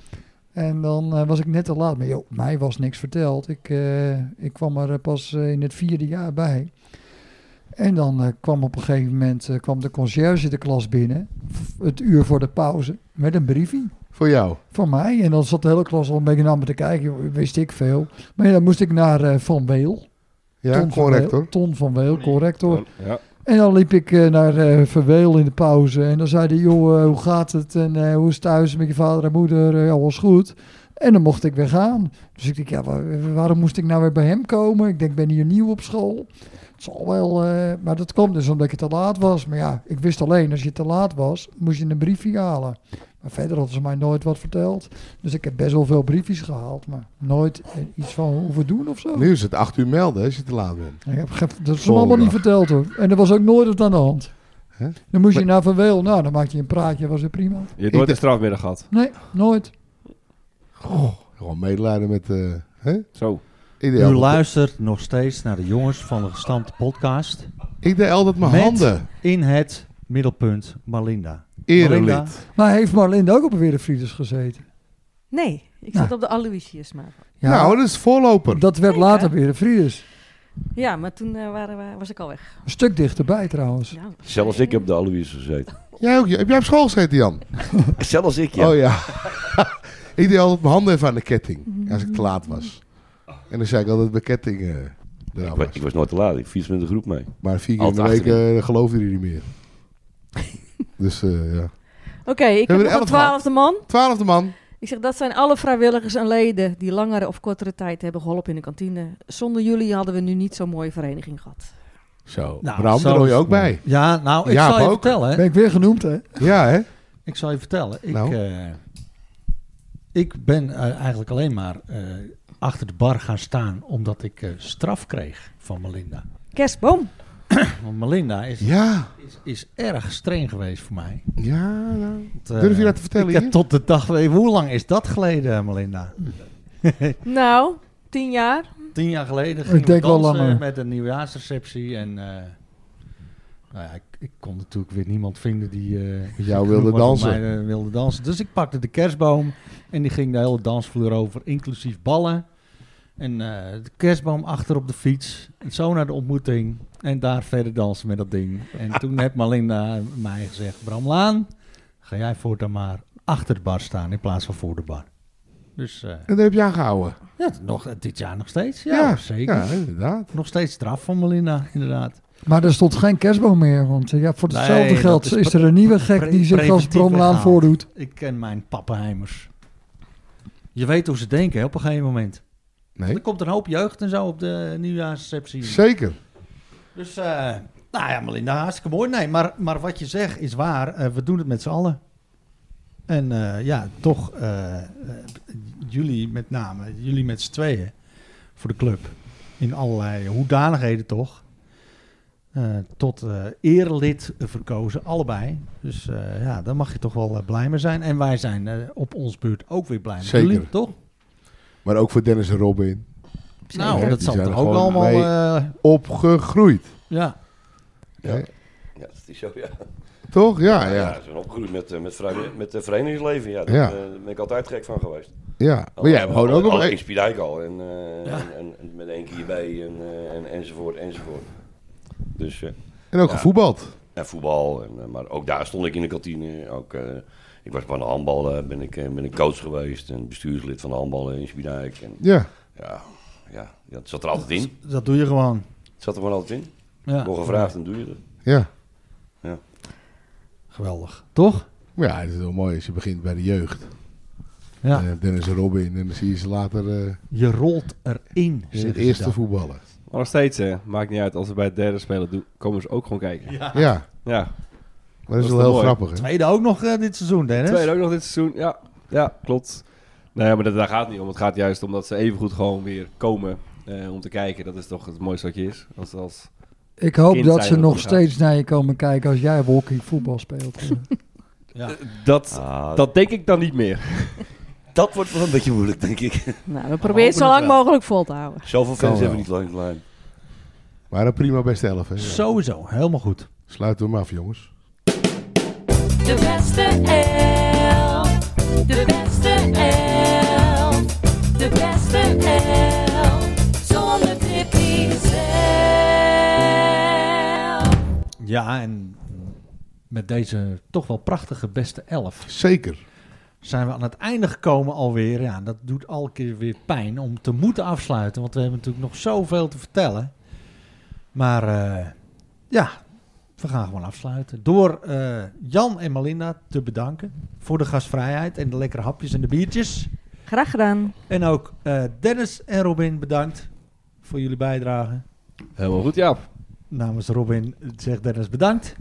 Speaker 3: En dan eh, was ik net te laat. Maar joh, mij was niks verteld. Ik, eh, ik kwam er eh, pas eh, in het vierde jaar bij. En dan eh, kwam op een gegeven moment eh, kwam de conciërge de klas binnen. f- Het uur voor de pauze. Met een briefie
Speaker 4: Voor jou.
Speaker 3: voor mij. En dan zat de hele klas al een beetje naar me te kijken. Joh, wist ik veel. Maar ja, dan moest ik naar eh, Van Weel.
Speaker 4: Ja,
Speaker 3: Ton
Speaker 4: correct
Speaker 3: van Weel,
Speaker 4: hoor.
Speaker 3: Ton van Weel, corrector.
Speaker 8: Ja.
Speaker 3: En dan liep ik eh, naar eh Verweel in de pauze. En dan zei hij, joh, eh, hoe gaat het? En eh, hoe is het thuis met je vader en moeder? Eh, ja, was goed. En dan mocht ik weer gaan. Dus ik denk, ja, waar- waarom moest ik nou weer bij hem komen? Ik denk, ik ben hier nieuw op school. Het zal wel, eh, maar dat komt dus omdat je te laat was. Maar ja, ik wist alleen, als je te laat was, moest je een briefje halen. Maar verder hadden ze mij nooit wat verteld. Dus ik heb best wel veel briefjes gehaald, maar nooit eh, iets van hoeven doen of zo.
Speaker 4: Nu is het acht uur melden als je te laat bent.
Speaker 3: Ik heb, ge- dat is me
Speaker 4: Volgende
Speaker 3: allemaal niet
Speaker 4: dag.
Speaker 3: verteld hoor. En er was ook nooit wat aan de hand.
Speaker 4: Hè?
Speaker 3: Dan moest je
Speaker 4: Maar-
Speaker 3: naar Van Weel. Nou, dan maak je een praatje, was het prima.
Speaker 8: Je hebt nooit
Speaker 4: dacht-
Speaker 8: een strafmiddag gehad.
Speaker 3: Nee, nooit.
Speaker 4: Gewoon medelijden met... eh hè?
Speaker 8: Zo.
Speaker 4: Ik, deed
Speaker 2: U
Speaker 4: altijd,
Speaker 2: luistert nog steeds naar de jongens van de gestampte podcast.
Speaker 4: ik deed altijd mijn
Speaker 2: Met-
Speaker 4: handen.
Speaker 2: In het middelpunt Malinda. Malinda,
Speaker 4: Erelid.
Speaker 3: Maar heeft Marlinde ook op een Wereldvrienders gezeten?
Speaker 5: Nee, ik
Speaker 3: Nou.
Speaker 5: zat op de Aloysius maar.
Speaker 3: Ja,
Speaker 4: Nou, dat is voorloper.
Speaker 3: dat werd
Speaker 5: Leuk, hè?
Speaker 3: later Wereldvrienders.
Speaker 5: Ja, maar toen eh, waren we, was ik al weg.
Speaker 3: Een stuk dichterbij trouwens.
Speaker 5: Ja.
Speaker 6: Zelfs ik heb op de Aloïs gezeten.
Speaker 4: Jij ook, heb jij op school gezeten, Jan?
Speaker 6: Zelfs ik, ja.
Speaker 4: Oh ja. ik deed altijd mijn handen even aan de ketting. Als ik te laat was. En dan zei ik altijd mijn ketting eh
Speaker 6: ik,
Speaker 4: eraan
Speaker 6: wa-
Speaker 4: was.
Speaker 6: ik was nooit te laat. Ik fiets met de groep mee.
Speaker 4: Maar vier keer in de
Speaker 6: Altijd
Speaker 4: week eh, geloofde hij niet meer. dus eh ja.
Speaker 5: Oké,
Speaker 4: Hebben
Speaker 5: ik heb
Speaker 4: we
Speaker 5: nog
Speaker 4: elf
Speaker 5: een twaalfde man.
Speaker 4: Twaalfde man.
Speaker 5: Ik zeg, dat zijn alle vrijwilligers en leden die langere of kortere tijd hebben geholpen in de kantine. Zonder jullie hadden we nu niet zo'n mooie vereniging gehad.
Speaker 4: Zo.
Speaker 2: Nou,
Speaker 4: Bram,
Speaker 2: zo
Speaker 4: daar hoor
Speaker 2: is
Speaker 4: je
Speaker 2: het
Speaker 4: ook
Speaker 2: mooi.
Speaker 4: bij.
Speaker 2: Ja, nou, ik
Speaker 4: Jaap
Speaker 2: zal je
Speaker 4: ook.
Speaker 2: vertellen.
Speaker 3: Ben ik weer genoemd, hè?
Speaker 4: Ja, hè?
Speaker 2: Ik zal je vertellen. Ik,
Speaker 4: Nou.
Speaker 2: eh, ik ben eh, eigenlijk alleen maar eh, achter de bar gaan staan omdat ik eh, straf kreeg van Melinda.
Speaker 5: Kerstboom.
Speaker 2: Want Melinda is,
Speaker 4: Ja.
Speaker 2: is, is erg streng geweest voor mij.
Speaker 4: Ja, ja.
Speaker 2: Want, eh,
Speaker 4: Durf je dat te vertellen
Speaker 2: Ik heb
Speaker 4: hier?
Speaker 2: tot de dag... Hoe lang is dat geleden, Melinda?
Speaker 5: Nou, tien jaar.
Speaker 2: Tien jaar geleden gingen
Speaker 3: denk
Speaker 2: we
Speaker 3: wel
Speaker 2: dansen
Speaker 3: langer.
Speaker 2: met een nieuwjaarsreceptie. En eh, nou ja, ik, ik kon natuurlijk weer niemand vinden die... eh,
Speaker 4: Met jou
Speaker 2: genoeg
Speaker 4: wilde
Speaker 2: was om
Speaker 4: dansen.
Speaker 2: mij, eh, wilde dansen. Dus ik pakte de kerstboom en die ging de hele dansvloer over, inclusief ballen. En eh, de kerstboom achter op de fiets. En zo naar de ontmoeting. En daar verder dansen met dat ding. En toen heeft Malinda mij gezegd, Bram Laan, ga jij voortaan maar achter de bar staan in plaats van voor de bar. Dus eh,
Speaker 4: En daar heb je aan gehouden.
Speaker 2: ja, nog, eh, dit jaar nog steeds. Ja, zeker.
Speaker 4: Ja, inderdaad.
Speaker 2: Nog steeds straf van Melinda, inderdaad.
Speaker 3: Maar er stond geen kerstboom meer. Want eh, ja, voor
Speaker 2: Nee,
Speaker 3: hetzelfde
Speaker 2: dat
Speaker 3: geld
Speaker 2: is
Speaker 3: is, er een nieuwe gek
Speaker 2: pre-
Speaker 3: die zich als
Speaker 2: preventief
Speaker 3: Bromlaan
Speaker 2: weggehaald.
Speaker 3: voordoet.
Speaker 2: Ik ken mijn pappenheimers. Je weet hoe ze denken hè, op een gegeven moment. Er
Speaker 4: Nee.
Speaker 2: komt een hoop jeugd en zo op de nieuwjaarsreceptie.
Speaker 4: Zeker.
Speaker 2: Dus, eh, nou ja, Melinda, hartstikke mooi. Nee, maar, maar wat je zegt is waar. Eh, we doen het met z'n allen. En eh, ja, toch, eh, eh, jullie met name, jullie met z'n tweeën voor de club. In allerlei hoedanigheden toch. Eh, tot eh erelid verkozen, allebei. Dus eh, ja, daar mag je toch wel eh, blij mee zijn. En wij zijn eh, op ons beurt ook weer blij met
Speaker 4: Zeker.
Speaker 2: jullie, toch?
Speaker 4: Maar ook voor Dennis en Robin.
Speaker 2: nou,
Speaker 4: hè,
Speaker 2: dat
Speaker 4: die
Speaker 2: zal
Speaker 4: zijn
Speaker 2: toch
Speaker 4: er
Speaker 2: ook
Speaker 4: gewoon
Speaker 2: allemaal...
Speaker 4: mee.
Speaker 2: eh,
Speaker 4: Opgegroeid.
Speaker 2: ja.
Speaker 6: Ja.
Speaker 4: Hè?
Speaker 6: Ja, dat is zo, ja.
Speaker 4: Toch? Ja,
Speaker 6: Ah, ja.
Speaker 4: ja.
Speaker 6: Ze zijn opgegroeid met, eh, met, vrij, met het verenigingsleven. Ja, daar
Speaker 4: Ja.
Speaker 6: eh, daar ben ik altijd gek van geweest.
Speaker 4: ja. Maar
Speaker 6: Oh,
Speaker 4: jij hebt gewoon ook
Speaker 6: al.
Speaker 4: nog
Speaker 6: Ik
Speaker 4: een...
Speaker 6: spiedijk al. En, eh,
Speaker 2: Ja.
Speaker 6: en, en, en met één keer bij en, eh, en, enzovoort, enzovoort. Dus, eh,
Speaker 4: En ook
Speaker 6: Ja.
Speaker 4: gevoetbald.
Speaker 6: en voetbal. En, eh, maar ook daar stond ik in de kantine. Ook, eh, ik was bij de handballen, ben ik, eh, ben ik coach geweest. En bestuurslid van de handballen in Spiedijk. En,
Speaker 4: Ja.
Speaker 6: ja, ja, ja, het zat er altijd in.
Speaker 2: Dat doe je gewoon.
Speaker 6: Het zat er gewoon altijd in.
Speaker 2: Ja.
Speaker 6: Nog gevraagd, dan doe je dat.
Speaker 4: Ja.
Speaker 2: Geweldig, toch?
Speaker 4: Ja, het is wel mooi als je begint bij de jeugd.
Speaker 2: Ja.
Speaker 4: Eh, Dennis en Robin. En dan zie je ze later eh,
Speaker 2: Je rolt erin,
Speaker 4: in
Speaker 2: zeg
Speaker 4: het
Speaker 2: eerste
Speaker 4: eerste voetballen.
Speaker 8: Maar nog steeds, hè. Maakt niet uit. Als we bij het derde spelen, doen, komen ze ook gewoon kijken. Ja.
Speaker 4: Ja. Maar dat is
Speaker 8: Dat
Speaker 4: wel
Speaker 8: is
Speaker 4: heel
Speaker 8: wel mooi.
Speaker 4: grappig, hè?
Speaker 2: Tweede ook nog eh, dit seizoen, Dennis.
Speaker 8: Tweede ook nog dit seizoen. Ja, ja klopt. Nou ja, maar dat, daar gaat het niet om. Het gaat juist om dat ze evengoed gewoon weer komen eh, om te kijken. Dat is toch het mooiste wat je is. Als, als...
Speaker 3: Ik hoop
Speaker 8: Kind
Speaker 3: dat
Speaker 8: zijn
Speaker 3: ze
Speaker 8: we
Speaker 3: nog
Speaker 8: nog
Speaker 3: steeds naar je komen kijken als jij walking voetbal speelt.
Speaker 2: Ja.
Speaker 8: Dat,
Speaker 6: Ah,
Speaker 8: dat denk ik dan niet meer.
Speaker 6: dat wordt wel een beetje moeilijk, denk ik.
Speaker 5: Nou, we proberen het zo lang
Speaker 2: wel.
Speaker 5: mogelijk vol te houden.
Speaker 6: Zoveel
Speaker 4: Kan
Speaker 6: fans hebben we niet
Speaker 4: wel.
Speaker 6: lang klein.
Speaker 4: Maar een prima beste elf, hè?
Speaker 2: Sowieso, helemaal goed.
Speaker 4: Sluiten we hem af, jongens.
Speaker 10: De beste elf. De beste elf. De beste elf. Zonder Pippi zelf.
Speaker 2: Ja, en met deze toch wel prachtige beste elf
Speaker 4: Zeker.
Speaker 2: zijn we aan het einde gekomen alweer. Ja, dat doet elke keer weer pijn om te moeten afsluiten, want we hebben natuurlijk nog zoveel te vertellen. Maar eh, ja, we gaan gewoon afsluiten. Door eh, Jan en Melinda te bedanken voor de gastvrijheid en de lekkere hapjes en de biertjes.
Speaker 5: Graag gedaan.
Speaker 2: En ook eh, Dennis en Robin, bedankt voor jullie bijdrage.
Speaker 8: Helemaal goed, Jaap.
Speaker 2: Namens Robin zegt Dennis bedankt.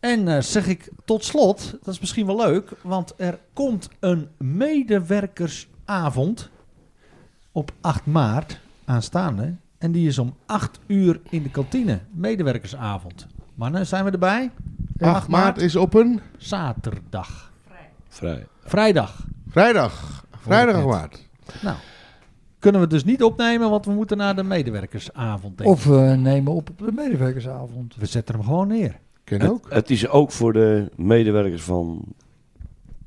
Speaker 2: En eh, zeg ik tot slot, dat is misschien wel leuk, want er komt een medewerkersavond op 8 maart aanstaande. En die is om 8 uur in de kantine. Medewerkersavond. Mannen, zijn we erbij?
Speaker 4: 8 maart is op een
Speaker 2: Zaterdag.
Speaker 6: Vrij.
Speaker 2: Vrijdag.
Speaker 4: vrijdag. Vrijdag 8 maart.
Speaker 2: Nou, kunnen we dus niet opnemen, want we moeten naar de medewerkersavond. Denk ik.
Speaker 3: Of we nemen op op de medewerkersavond.
Speaker 2: we zetten hem gewoon neer.
Speaker 4: Ken
Speaker 6: Het,
Speaker 4: ook.
Speaker 6: het is ook voor de medewerkers van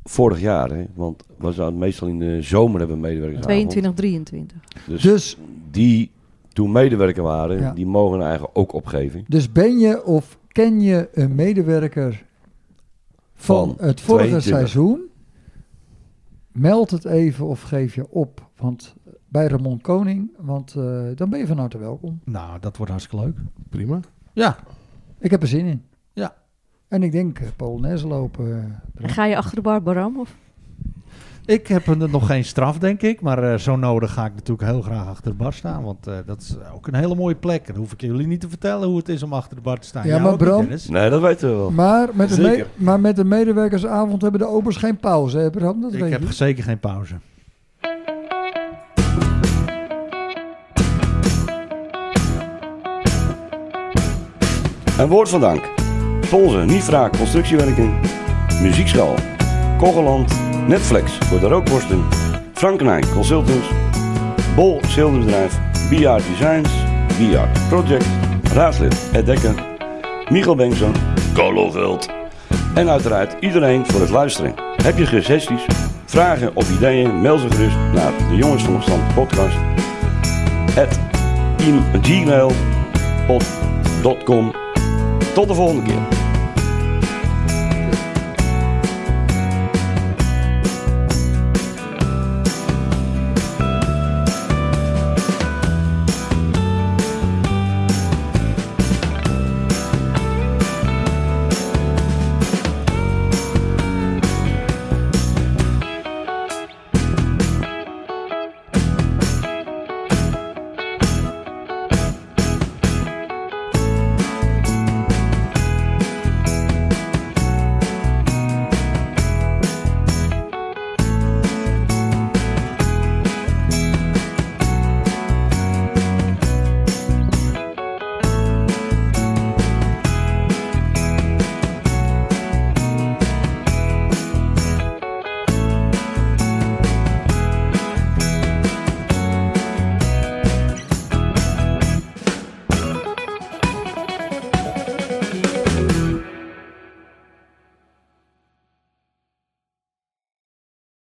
Speaker 6: vorig jaar. Hè? Want we zouden meestal in de zomer hebben medewerkers.
Speaker 5: 22, 23.
Speaker 6: Dus,
Speaker 3: Dus,
Speaker 6: die toen medewerker waren,
Speaker 3: Ja.
Speaker 6: die mogen eigenlijk ook opgeven.
Speaker 3: dus ben je of ken je een medewerker van,
Speaker 6: Van
Speaker 3: het vorige
Speaker 6: 22.
Speaker 3: seizoen? Meld het even of geef je op. Want eh, bij Ramon Koning, want eh, dan ben je van harte welkom.
Speaker 2: Nou, dat wordt hartstikke leuk.
Speaker 4: Prima.
Speaker 2: Ja,
Speaker 3: Ik heb er zin in.
Speaker 2: Ja.
Speaker 3: En ik denk eh, Polonaise lopen. eh,
Speaker 5: En ga je achter de bar, Bram? Of?
Speaker 2: ik heb er nog geen straf, denk ik. Maar eh, zo nodig ga ik natuurlijk heel graag achter de bar staan. Want eh, dat is ook een hele mooie plek. En dan hoef ik jullie niet te vertellen hoe het is om achter de bar te staan.
Speaker 3: Ja,
Speaker 2: Jij
Speaker 3: maar
Speaker 2: ook niet,
Speaker 3: Bram- Nou,
Speaker 2: Dennis?
Speaker 6: Nee, dat weten we wel.
Speaker 3: Maar met, de
Speaker 6: Zeker.
Speaker 3: me- maar met de medewerkersavond hebben de obers geen pauze, hè Bram? Dat weet
Speaker 2: ik heb
Speaker 3: je.
Speaker 2: zeker geen pauze.
Speaker 6: Een woord van dank. Polsen, Nifra, Constructiewerken, Muziekschool, Kogeland, Netflix voor de rookborsten, Frank Knijn Consultants, Bol Schilderbedrijf, Biard Designs, Biard Project, Raadslid Ed Dekker, Michael Bengtson, Carlo Gult. En uiteraard iedereen voor het luisteren. Heb je suggesties, vragen of ideeën, mail ze gerust naar de Jongens van Opstand podcast at gmail.com. Tot de volgende keer.